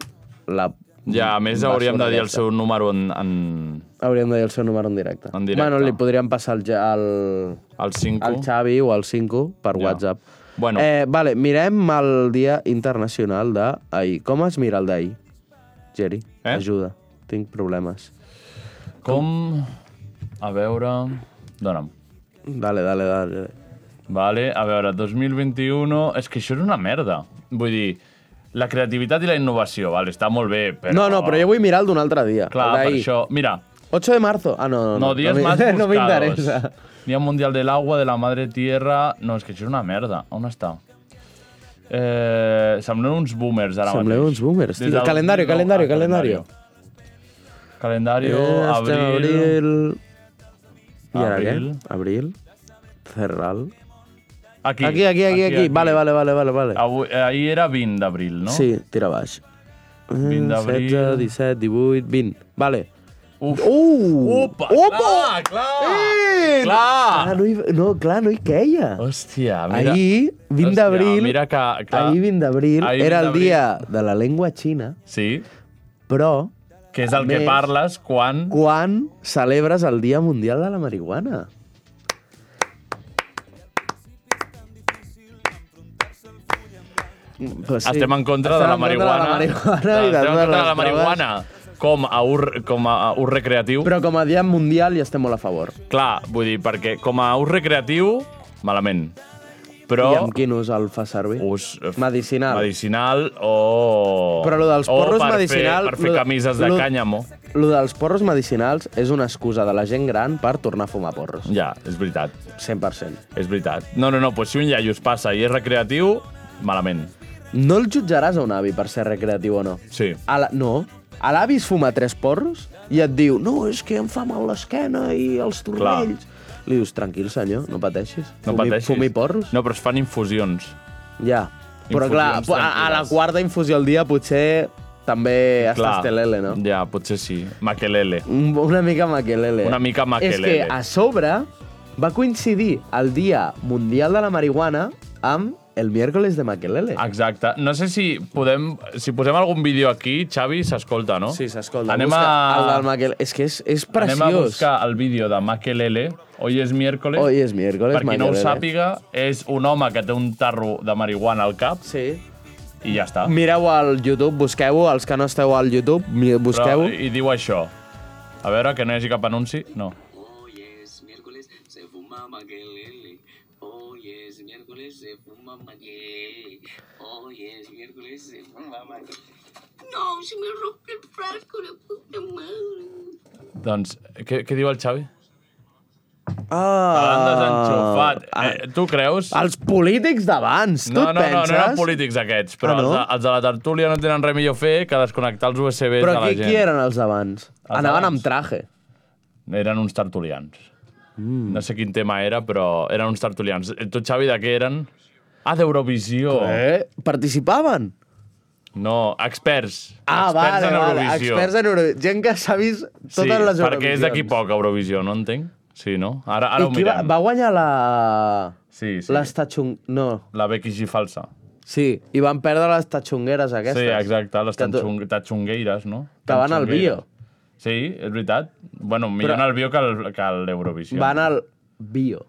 [SPEAKER 4] la...
[SPEAKER 3] Ja, a més, hauríem de dir el
[SPEAKER 4] aquesta.
[SPEAKER 3] seu número en... en...
[SPEAKER 4] Hauríem de dir el seu número en directe.
[SPEAKER 3] En directe.
[SPEAKER 4] Bueno, li podríem passar el, Ja- el,
[SPEAKER 3] El 5.
[SPEAKER 4] el Xavi o el 5 per
[SPEAKER 3] Ja.
[SPEAKER 4] WhatsApp.
[SPEAKER 3] Bueno.
[SPEAKER 4] Eh, vale, mirem el dia internacional d'ahir. Com es mira el d'ahir, Jerry?
[SPEAKER 3] Eh?
[SPEAKER 4] Ajuda, tinc problemes.
[SPEAKER 3] Com... A veure... Dóna'm.
[SPEAKER 4] Dale, dale, dale.
[SPEAKER 3] Vale, a veure, 2021... És que això és una merda. Vull dir, la creativitat i la innovació, vale, està molt bé, però...
[SPEAKER 4] No, no, però jo vull mirar el d'un altre dia.
[SPEAKER 3] Clar,
[SPEAKER 4] el
[SPEAKER 3] per
[SPEAKER 4] d'ahir.
[SPEAKER 3] això... Mira,
[SPEAKER 4] 8 de marzo. Ah, no, no.
[SPEAKER 3] no, dies
[SPEAKER 4] me-
[SPEAKER 3] más buscados.
[SPEAKER 4] No me interesa.
[SPEAKER 3] Día Mundial del Agua, de la Madre Tierra... No, és que això és una merda. On està? Eh, sembleu uns boomers ara
[SPEAKER 4] Sembleu
[SPEAKER 3] mateix.
[SPEAKER 4] uns boomers,
[SPEAKER 3] Des
[SPEAKER 4] tio.
[SPEAKER 3] del
[SPEAKER 4] Calendari,
[SPEAKER 3] 2009.
[SPEAKER 4] calendari,
[SPEAKER 3] Ah, Calendari,
[SPEAKER 4] Eh, estem a
[SPEAKER 3] abril...
[SPEAKER 4] abril... I ara què?
[SPEAKER 3] Abril.
[SPEAKER 4] Abril. Cerral.
[SPEAKER 3] Aquí,
[SPEAKER 4] Aquí, aquí, aquí, aquí. Vale, vale, vale, vale. vale.
[SPEAKER 3] Avui, eh, ahir era 20 d'abril, no?
[SPEAKER 4] Sí, tira baix.
[SPEAKER 3] 20 d'abril.
[SPEAKER 4] 16, 17, 18, 20. Vale.
[SPEAKER 3] Uf.
[SPEAKER 4] Uh!
[SPEAKER 3] Opa!
[SPEAKER 4] Opa!
[SPEAKER 3] Clar, clar!
[SPEAKER 4] Eh!
[SPEAKER 3] Clar!
[SPEAKER 4] Ah, no, hi, no, clar, no hi queia.
[SPEAKER 3] Hòstia, mira...
[SPEAKER 4] Ahir, 20
[SPEAKER 3] Hòstia,
[SPEAKER 4] d'abril,
[SPEAKER 3] Mira que... Clar,
[SPEAKER 4] ahir 20 d'abril,
[SPEAKER 3] Ahir, 20
[SPEAKER 4] era el
[SPEAKER 3] d'abril.
[SPEAKER 4] dia de la llengua xina,
[SPEAKER 3] Sí,
[SPEAKER 4] però
[SPEAKER 3] que és el
[SPEAKER 4] A
[SPEAKER 3] que
[SPEAKER 4] més-
[SPEAKER 3] parles quan...
[SPEAKER 4] quan celebres el Dia Mundial de la Marihuana? Però Mm, sí,
[SPEAKER 3] Estem en contra de
[SPEAKER 4] estem
[SPEAKER 3] la
[SPEAKER 4] en contra
[SPEAKER 3] marihuana.
[SPEAKER 4] de la marihuana i de
[SPEAKER 3] Estem en
[SPEAKER 4] totes
[SPEAKER 3] contra de la
[SPEAKER 4] les drogues.
[SPEAKER 3] marihuana com a ús, com a ús recreatiu. Però...
[SPEAKER 4] Però com a dia mundial ja estem molt a favor.
[SPEAKER 3] Clar, vull dir, perquè com a ús recreatiu, malament. Però
[SPEAKER 4] I amb quin ús el fa servir?
[SPEAKER 3] ús eh,
[SPEAKER 4] Medicinal.
[SPEAKER 3] medicinal o...
[SPEAKER 4] Però lo dels
[SPEAKER 3] o
[SPEAKER 4] porros
[SPEAKER 3] per
[SPEAKER 4] medicinal-
[SPEAKER 3] Fer, per fer
[SPEAKER 4] lo-
[SPEAKER 3] camises de
[SPEAKER 4] lo-
[SPEAKER 3] cànyamo.
[SPEAKER 4] Lo dels porros medicinals és una excusa de la gent gran per tornar a fumar porros.
[SPEAKER 3] Ja, és veritat,
[SPEAKER 4] 100%.
[SPEAKER 3] és veritat. No, no, no, doncs si un iaio es passa i és recreatiu, malament.
[SPEAKER 4] No el jutjaràs a un avi per ser recreatiu o no.
[SPEAKER 3] Sí.
[SPEAKER 4] A la, no. A l'avi es fuma tres porros i et diu no, és que em fa mal l'esquena i els turmells. Li dius, tranquil, senyor, no pateixis.
[SPEAKER 3] No
[SPEAKER 4] fumi,
[SPEAKER 3] pateixis.
[SPEAKER 4] Fumi porros.
[SPEAKER 3] No, però es fan infusions.
[SPEAKER 4] Ja. Però
[SPEAKER 3] Infusions
[SPEAKER 4] clar, po- a, a la
[SPEAKER 3] tranquil·les.
[SPEAKER 4] quarta infusió al dia potser també
[SPEAKER 3] Clar.
[SPEAKER 4] estàs telele, no?
[SPEAKER 3] Ja, potser sí. Maquelele.
[SPEAKER 4] Un- Una mica maquelele.
[SPEAKER 3] Una mica maquelele.
[SPEAKER 4] És que a sobre va coincidir el Dia Mundial de la Marihuana amb el miércoles de maquelele.
[SPEAKER 3] Exacte. No sé si podem... Si posem algun vídeo aquí, Xavi, s'escolta, no?
[SPEAKER 4] Sí, s'escolta.
[SPEAKER 3] Anem
[SPEAKER 4] Busca El del
[SPEAKER 3] a...
[SPEAKER 4] maquelele. És que és, és preciós.
[SPEAKER 3] Anem a buscar el vídeo de Maquelele. Hoy es miércoles.
[SPEAKER 4] Hoy es miércoles,
[SPEAKER 3] Per qui no ho
[SPEAKER 4] Maquelele.
[SPEAKER 3] sàpiga, és un home que té un tarro de marihuana al cap
[SPEAKER 4] Sí.
[SPEAKER 3] i ja està.
[SPEAKER 4] Ah. Mireu al YouTube, busqueu-ho, els que no esteu al YouTube, mi-
[SPEAKER 3] Però,
[SPEAKER 4] busqueu
[SPEAKER 3] I diu això. A veure, que no hi hagi cap anunci. No.
[SPEAKER 9] Hoy es miércoles, se fuma maquelele. Hoy es miércoles, se fuma maquelele. Hoy es miércoles, se fuma maquelele. No, se me rompe el frasco, la puta madre.
[SPEAKER 3] Doncs, què, què diu el Xavi? L'han
[SPEAKER 4] Ah,
[SPEAKER 3] desenxufat. Eh, tu creus?
[SPEAKER 4] els polítics d'abans, tu
[SPEAKER 3] No, no,
[SPEAKER 4] et
[SPEAKER 3] no,
[SPEAKER 4] penses?
[SPEAKER 3] no eren polítics aquests, però
[SPEAKER 4] Ah, no?
[SPEAKER 3] els, de, els de la tertúlia no tenen res millor a fer que desconnectar els USBs de
[SPEAKER 4] Però
[SPEAKER 3] la
[SPEAKER 4] qui,
[SPEAKER 3] gent.
[SPEAKER 4] qui eren els d'abans? Anaven
[SPEAKER 3] d'abans?
[SPEAKER 4] amb traje.
[SPEAKER 3] Eren uns tertulians. Mm. No sé quin tema era, però eren uns tertulians. Eh, Tu, Xavi, de què eren? Ah, d'Eurovisió.
[SPEAKER 4] Eh? Participaven?
[SPEAKER 3] No, experts.
[SPEAKER 4] Ah,
[SPEAKER 3] experts
[SPEAKER 4] vale,
[SPEAKER 3] en
[SPEAKER 4] vale.
[SPEAKER 3] Eurovisió.
[SPEAKER 4] Experts en Eurovisió. Gent que s'ha vist totes les
[SPEAKER 3] sí,
[SPEAKER 4] Eurovisions.
[SPEAKER 3] perquè és d'aquí poc, Eurovisió, no entenc? Sí, no? Ara, ara
[SPEAKER 4] I
[SPEAKER 3] ho
[SPEAKER 4] qui va,
[SPEAKER 3] mirem.
[SPEAKER 4] va guanyar la...
[SPEAKER 3] Sí, sí.
[SPEAKER 4] Les tatxung... No.
[SPEAKER 3] La Becky G falsa.
[SPEAKER 4] Sí, i van perdre les tatxungueres aquestes.
[SPEAKER 3] Sí, exacte, les
[SPEAKER 4] Que tu-
[SPEAKER 3] tatxung- tatxungueires, no?
[SPEAKER 4] Que van al
[SPEAKER 3] Tatxungueires.
[SPEAKER 4] bio.
[SPEAKER 3] Sí, és veritat. Bueno, millor
[SPEAKER 4] Però-
[SPEAKER 3] anar al bio que al, que a l'Eurovisió.
[SPEAKER 4] Van al bio.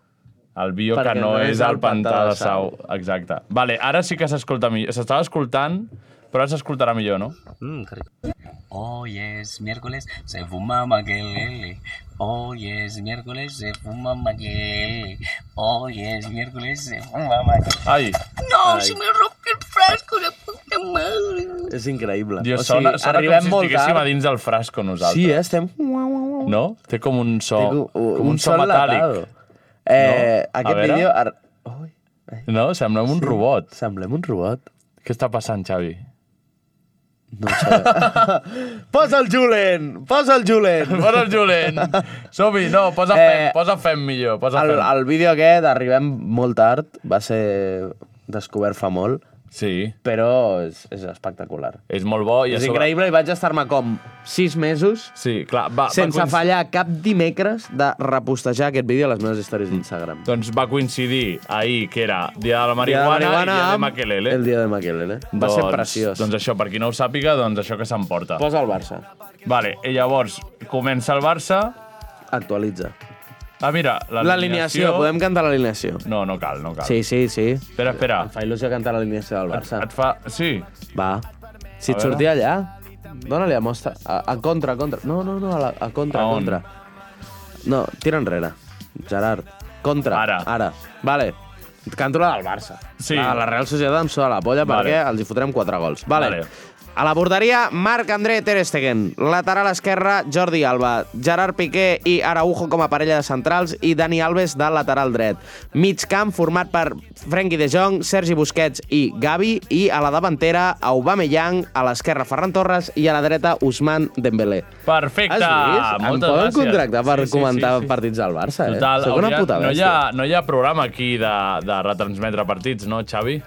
[SPEAKER 3] El bio que
[SPEAKER 4] Perquè
[SPEAKER 3] no, és el pantà de sau. Exacte. Vale, ara sí que s'escolta millor. S'estava escoltant, però ara s'escoltarà millor, no?
[SPEAKER 9] Mm, qué rico. Hoy es miércoles, se fuma maquelele. Hoy es miércoles, se fuma maquelele. Hoy es miércoles, se fuma maquelele.
[SPEAKER 3] Ai,
[SPEAKER 9] No, se me rompe el frasco, la puta madre.
[SPEAKER 4] És increïble.
[SPEAKER 3] Dios, o sigui, sona, sona com si
[SPEAKER 4] arribem molt
[SPEAKER 3] estiguéssim a
[SPEAKER 4] tard.
[SPEAKER 3] dins del frasco nosaltres.
[SPEAKER 4] Sí, eh, estem...
[SPEAKER 3] No? Té com un so,
[SPEAKER 4] Tinc
[SPEAKER 3] Oh, com un, so
[SPEAKER 4] enlatado.
[SPEAKER 3] metàl·lic.
[SPEAKER 4] Eh,
[SPEAKER 3] No? A
[SPEAKER 4] Aquest
[SPEAKER 3] veure.
[SPEAKER 4] vídeo... Ar... Ui,
[SPEAKER 3] No? Sembla un robot.
[SPEAKER 4] semblem un robot.
[SPEAKER 3] Què està passant, Xavi?
[SPEAKER 4] No ho sé. posa el Julen! Posa el Julen!
[SPEAKER 3] Posa el Julen! Som-hi, no, posa
[SPEAKER 4] Eh,
[SPEAKER 3] fem, posa fem millor, posa
[SPEAKER 4] El,
[SPEAKER 3] fem.
[SPEAKER 4] el vídeo aquest, arribem molt tard, va ser descobert fa molt,
[SPEAKER 3] Sí,
[SPEAKER 4] però és, és espectacular.
[SPEAKER 3] és molt bo. I a
[SPEAKER 4] És
[SPEAKER 3] sobre-
[SPEAKER 4] increïble i vaig estar-me com 6 mesos
[SPEAKER 3] Sí, clar. Va,
[SPEAKER 4] sense
[SPEAKER 3] va coinc-
[SPEAKER 4] fallar cap dimecres de repostejar aquest vídeo a les meves històries d'Instagram.
[SPEAKER 3] Doncs va coincidir ahir, que era Dia de la
[SPEAKER 4] Dia de
[SPEAKER 3] Marihuana, dia de
[SPEAKER 4] marihuana
[SPEAKER 3] i Dia de
[SPEAKER 4] amb
[SPEAKER 3] Maquelele.
[SPEAKER 4] El dia de Maquelele. Va
[SPEAKER 3] doncs,
[SPEAKER 4] ser preciós.
[SPEAKER 3] Doncs això, per qui no ho sàpiga, doncs això que s'emporta.
[SPEAKER 4] Posa el Barça.
[SPEAKER 3] Vale, i llavors comença el Barça.
[SPEAKER 4] Actualitza.
[SPEAKER 3] Ah, mira,
[SPEAKER 4] L'alineació, podem cantar l'alineació.
[SPEAKER 3] No, no cal, no cal.
[SPEAKER 4] Sí, sí, sí.
[SPEAKER 3] Espera, espera.
[SPEAKER 4] Em fa il·lusió cantar l'alineació del Barça.
[SPEAKER 3] Et fa... Sí.
[SPEAKER 4] Va. Si et sortia allà, dóna-li a mostra. A, a contra, a contra. No, no, no, a, la, a contra,
[SPEAKER 3] A
[SPEAKER 4] a
[SPEAKER 3] on?
[SPEAKER 4] contra. No, tira enrere. Gerard. Contra.
[SPEAKER 3] Ara.
[SPEAKER 4] Ara. Vale. Et canto la del Barça.
[SPEAKER 3] Sí.
[SPEAKER 4] La, de la Real Societat em sona la polla
[SPEAKER 3] Vale.
[SPEAKER 4] perquè els hi fotrem quatre gols. Vale.
[SPEAKER 3] Vale.
[SPEAKER 4] A la borderia, Marc André Ter Stegen. Lateral esquerra, Jordi Alba. Gerard Piqué i Araujo com a parella de centrals i Dani Alves de lateral dret. Mig camp format per Frenkie de Jong, Sergi Busquets i Gavi i a la davantera, Aubameyang, a l'esquerra Ferran Torres i a la dreta Usman Dembélé.
[SPEAKER 3] Perfecte!
[SPEAKER 4] Has vist? em
[SPEAKER 3] Moltes
[SPEAKER 4] poden
[SPEAKER 3] gràcies.
[SPEAKER 4] contractar per
[SPEAKER 3] Sí,
[SPEAKER 4] sí,
[SPEAKER 3] sí,
[SPEAKER 4] comentar
[SPEAKER 3] sí, sí.
[SPEAKER 4] partits del Barça, eh?
[SPEAKER 3] Total,
[SPEAKER 4] Sóc una
[SPEAKER 3] hauria-
[SPEAKER 4] puta
[SPEAKER 3] no, hi
[SPEAKER 4] bèstia.
[SPEAKER 3] ha, no hi ha programa aquí de, de retransmetre partits, no, Xavi?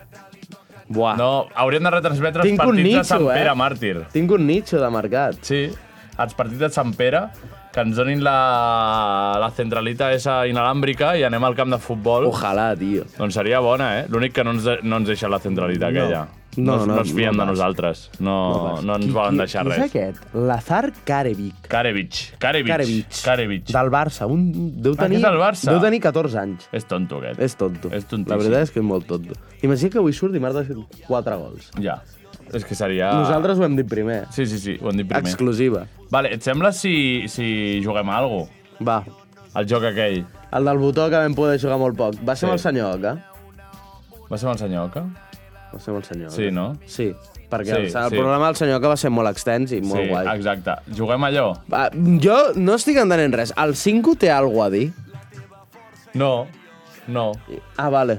[SPEAKER 4] Buah.
[SPEAKER 3] No, hauríem de retransmetre els
[SPEAKER 4] Ah. Tinc un
[SPEAKER 3] partits de Sant
[SPEAKER 4] nitxo, eh?
[SPEAKER 3] Pere Màrtir.
[SPEAKER 4] Tinc un nitxo de mercat.
[SPEAKER 3] Sí, els partits de Sant Pere, que ens donin la, la centralita esa inalàmbrica i anem al camp de futbol.
[SPEAKER 4] Ojalà, tio.
[SPEAKER 3] Doncs seria bona, eh? L'únic que no ens, de- no ens deixa la centralita aquella.
[SPEAKER 4] No,
[SPEAKER 3] no,
[SPEAKER 4] no,
[SPEAKER 3] no es fien de
[SPEAKER 4] no pas.
[SPEAKER 3] nosaltres. No, no, ens volen deixar
[SPEAKER 4] Qui és
[SPEAKER 3] res.
[SPEAKER 4] aquest? Lazar Karevic.
[SPEAKER 3] Karevich. Karevich.
[SPEAKER 4] Karevic.
[SPEAKER 3] Karevich.
[SPEAKER 4] Del Barça. Un... Deu
[SPEAKER 3] Ah,
[SPEAKER 4] tenir,
[SPEAKER 3] aquest del Barça.
[SPEAKER 4] Deu tenir 14 anys.
[SPEAKER 3] És tonto, aquest.
[SPEAKER 4] És tonto.
[SPEAKER 3] És tontíssim.
[SPEAKER 4] La veritat és que és molt tonto. Imagina que avui surt i Marta ha fet 4 gols.
[SPEAKER 3] Ja. És que seria...
[SPEAKER 4] Nosaltres ho hem dit primer.
[SPEAKER 3] Sí, sí, sí, ho hem dit Ah. primer.
[SPEAKER 4] Exclusiva.
[SPEAKER 3] Vale, et sembla si, si juguem a algo?
[SPEAKER 4] Va.
[SPEAKER 3] Al joc aquell.
[SPEAKER 4] El del botó que vam poder jugar molt poc. Va
[SPEAKER 3] Sí.
[SPEAKER 4] ser amb el senyor Oca?
[SPEAKER 3] Va ser amb el senyor Oca?
[SPEAKER 4] Va ser amb el senyor Oca.
[SPEAKER 3] Sí, no?
[SPEAKER 4] Sí. Perquè
[SPEAKER 3] Sí,
[SPEAKER 4] el, el
[SPEAKER 3] sí.
[SPEAKER 4] programa del senyor Oca va ser molt extens i molt
[SPEAKER 3] sí,
[SPEAKER 4] guai.
[SPEAKER 3] exacte. Juguem allò?
[SPEAKER 4] Va, jo no estic entenent res. El 5 té alguna a dir?
[SPEAKER 3] No. No.
[SPEAKER 4] Ah, vale.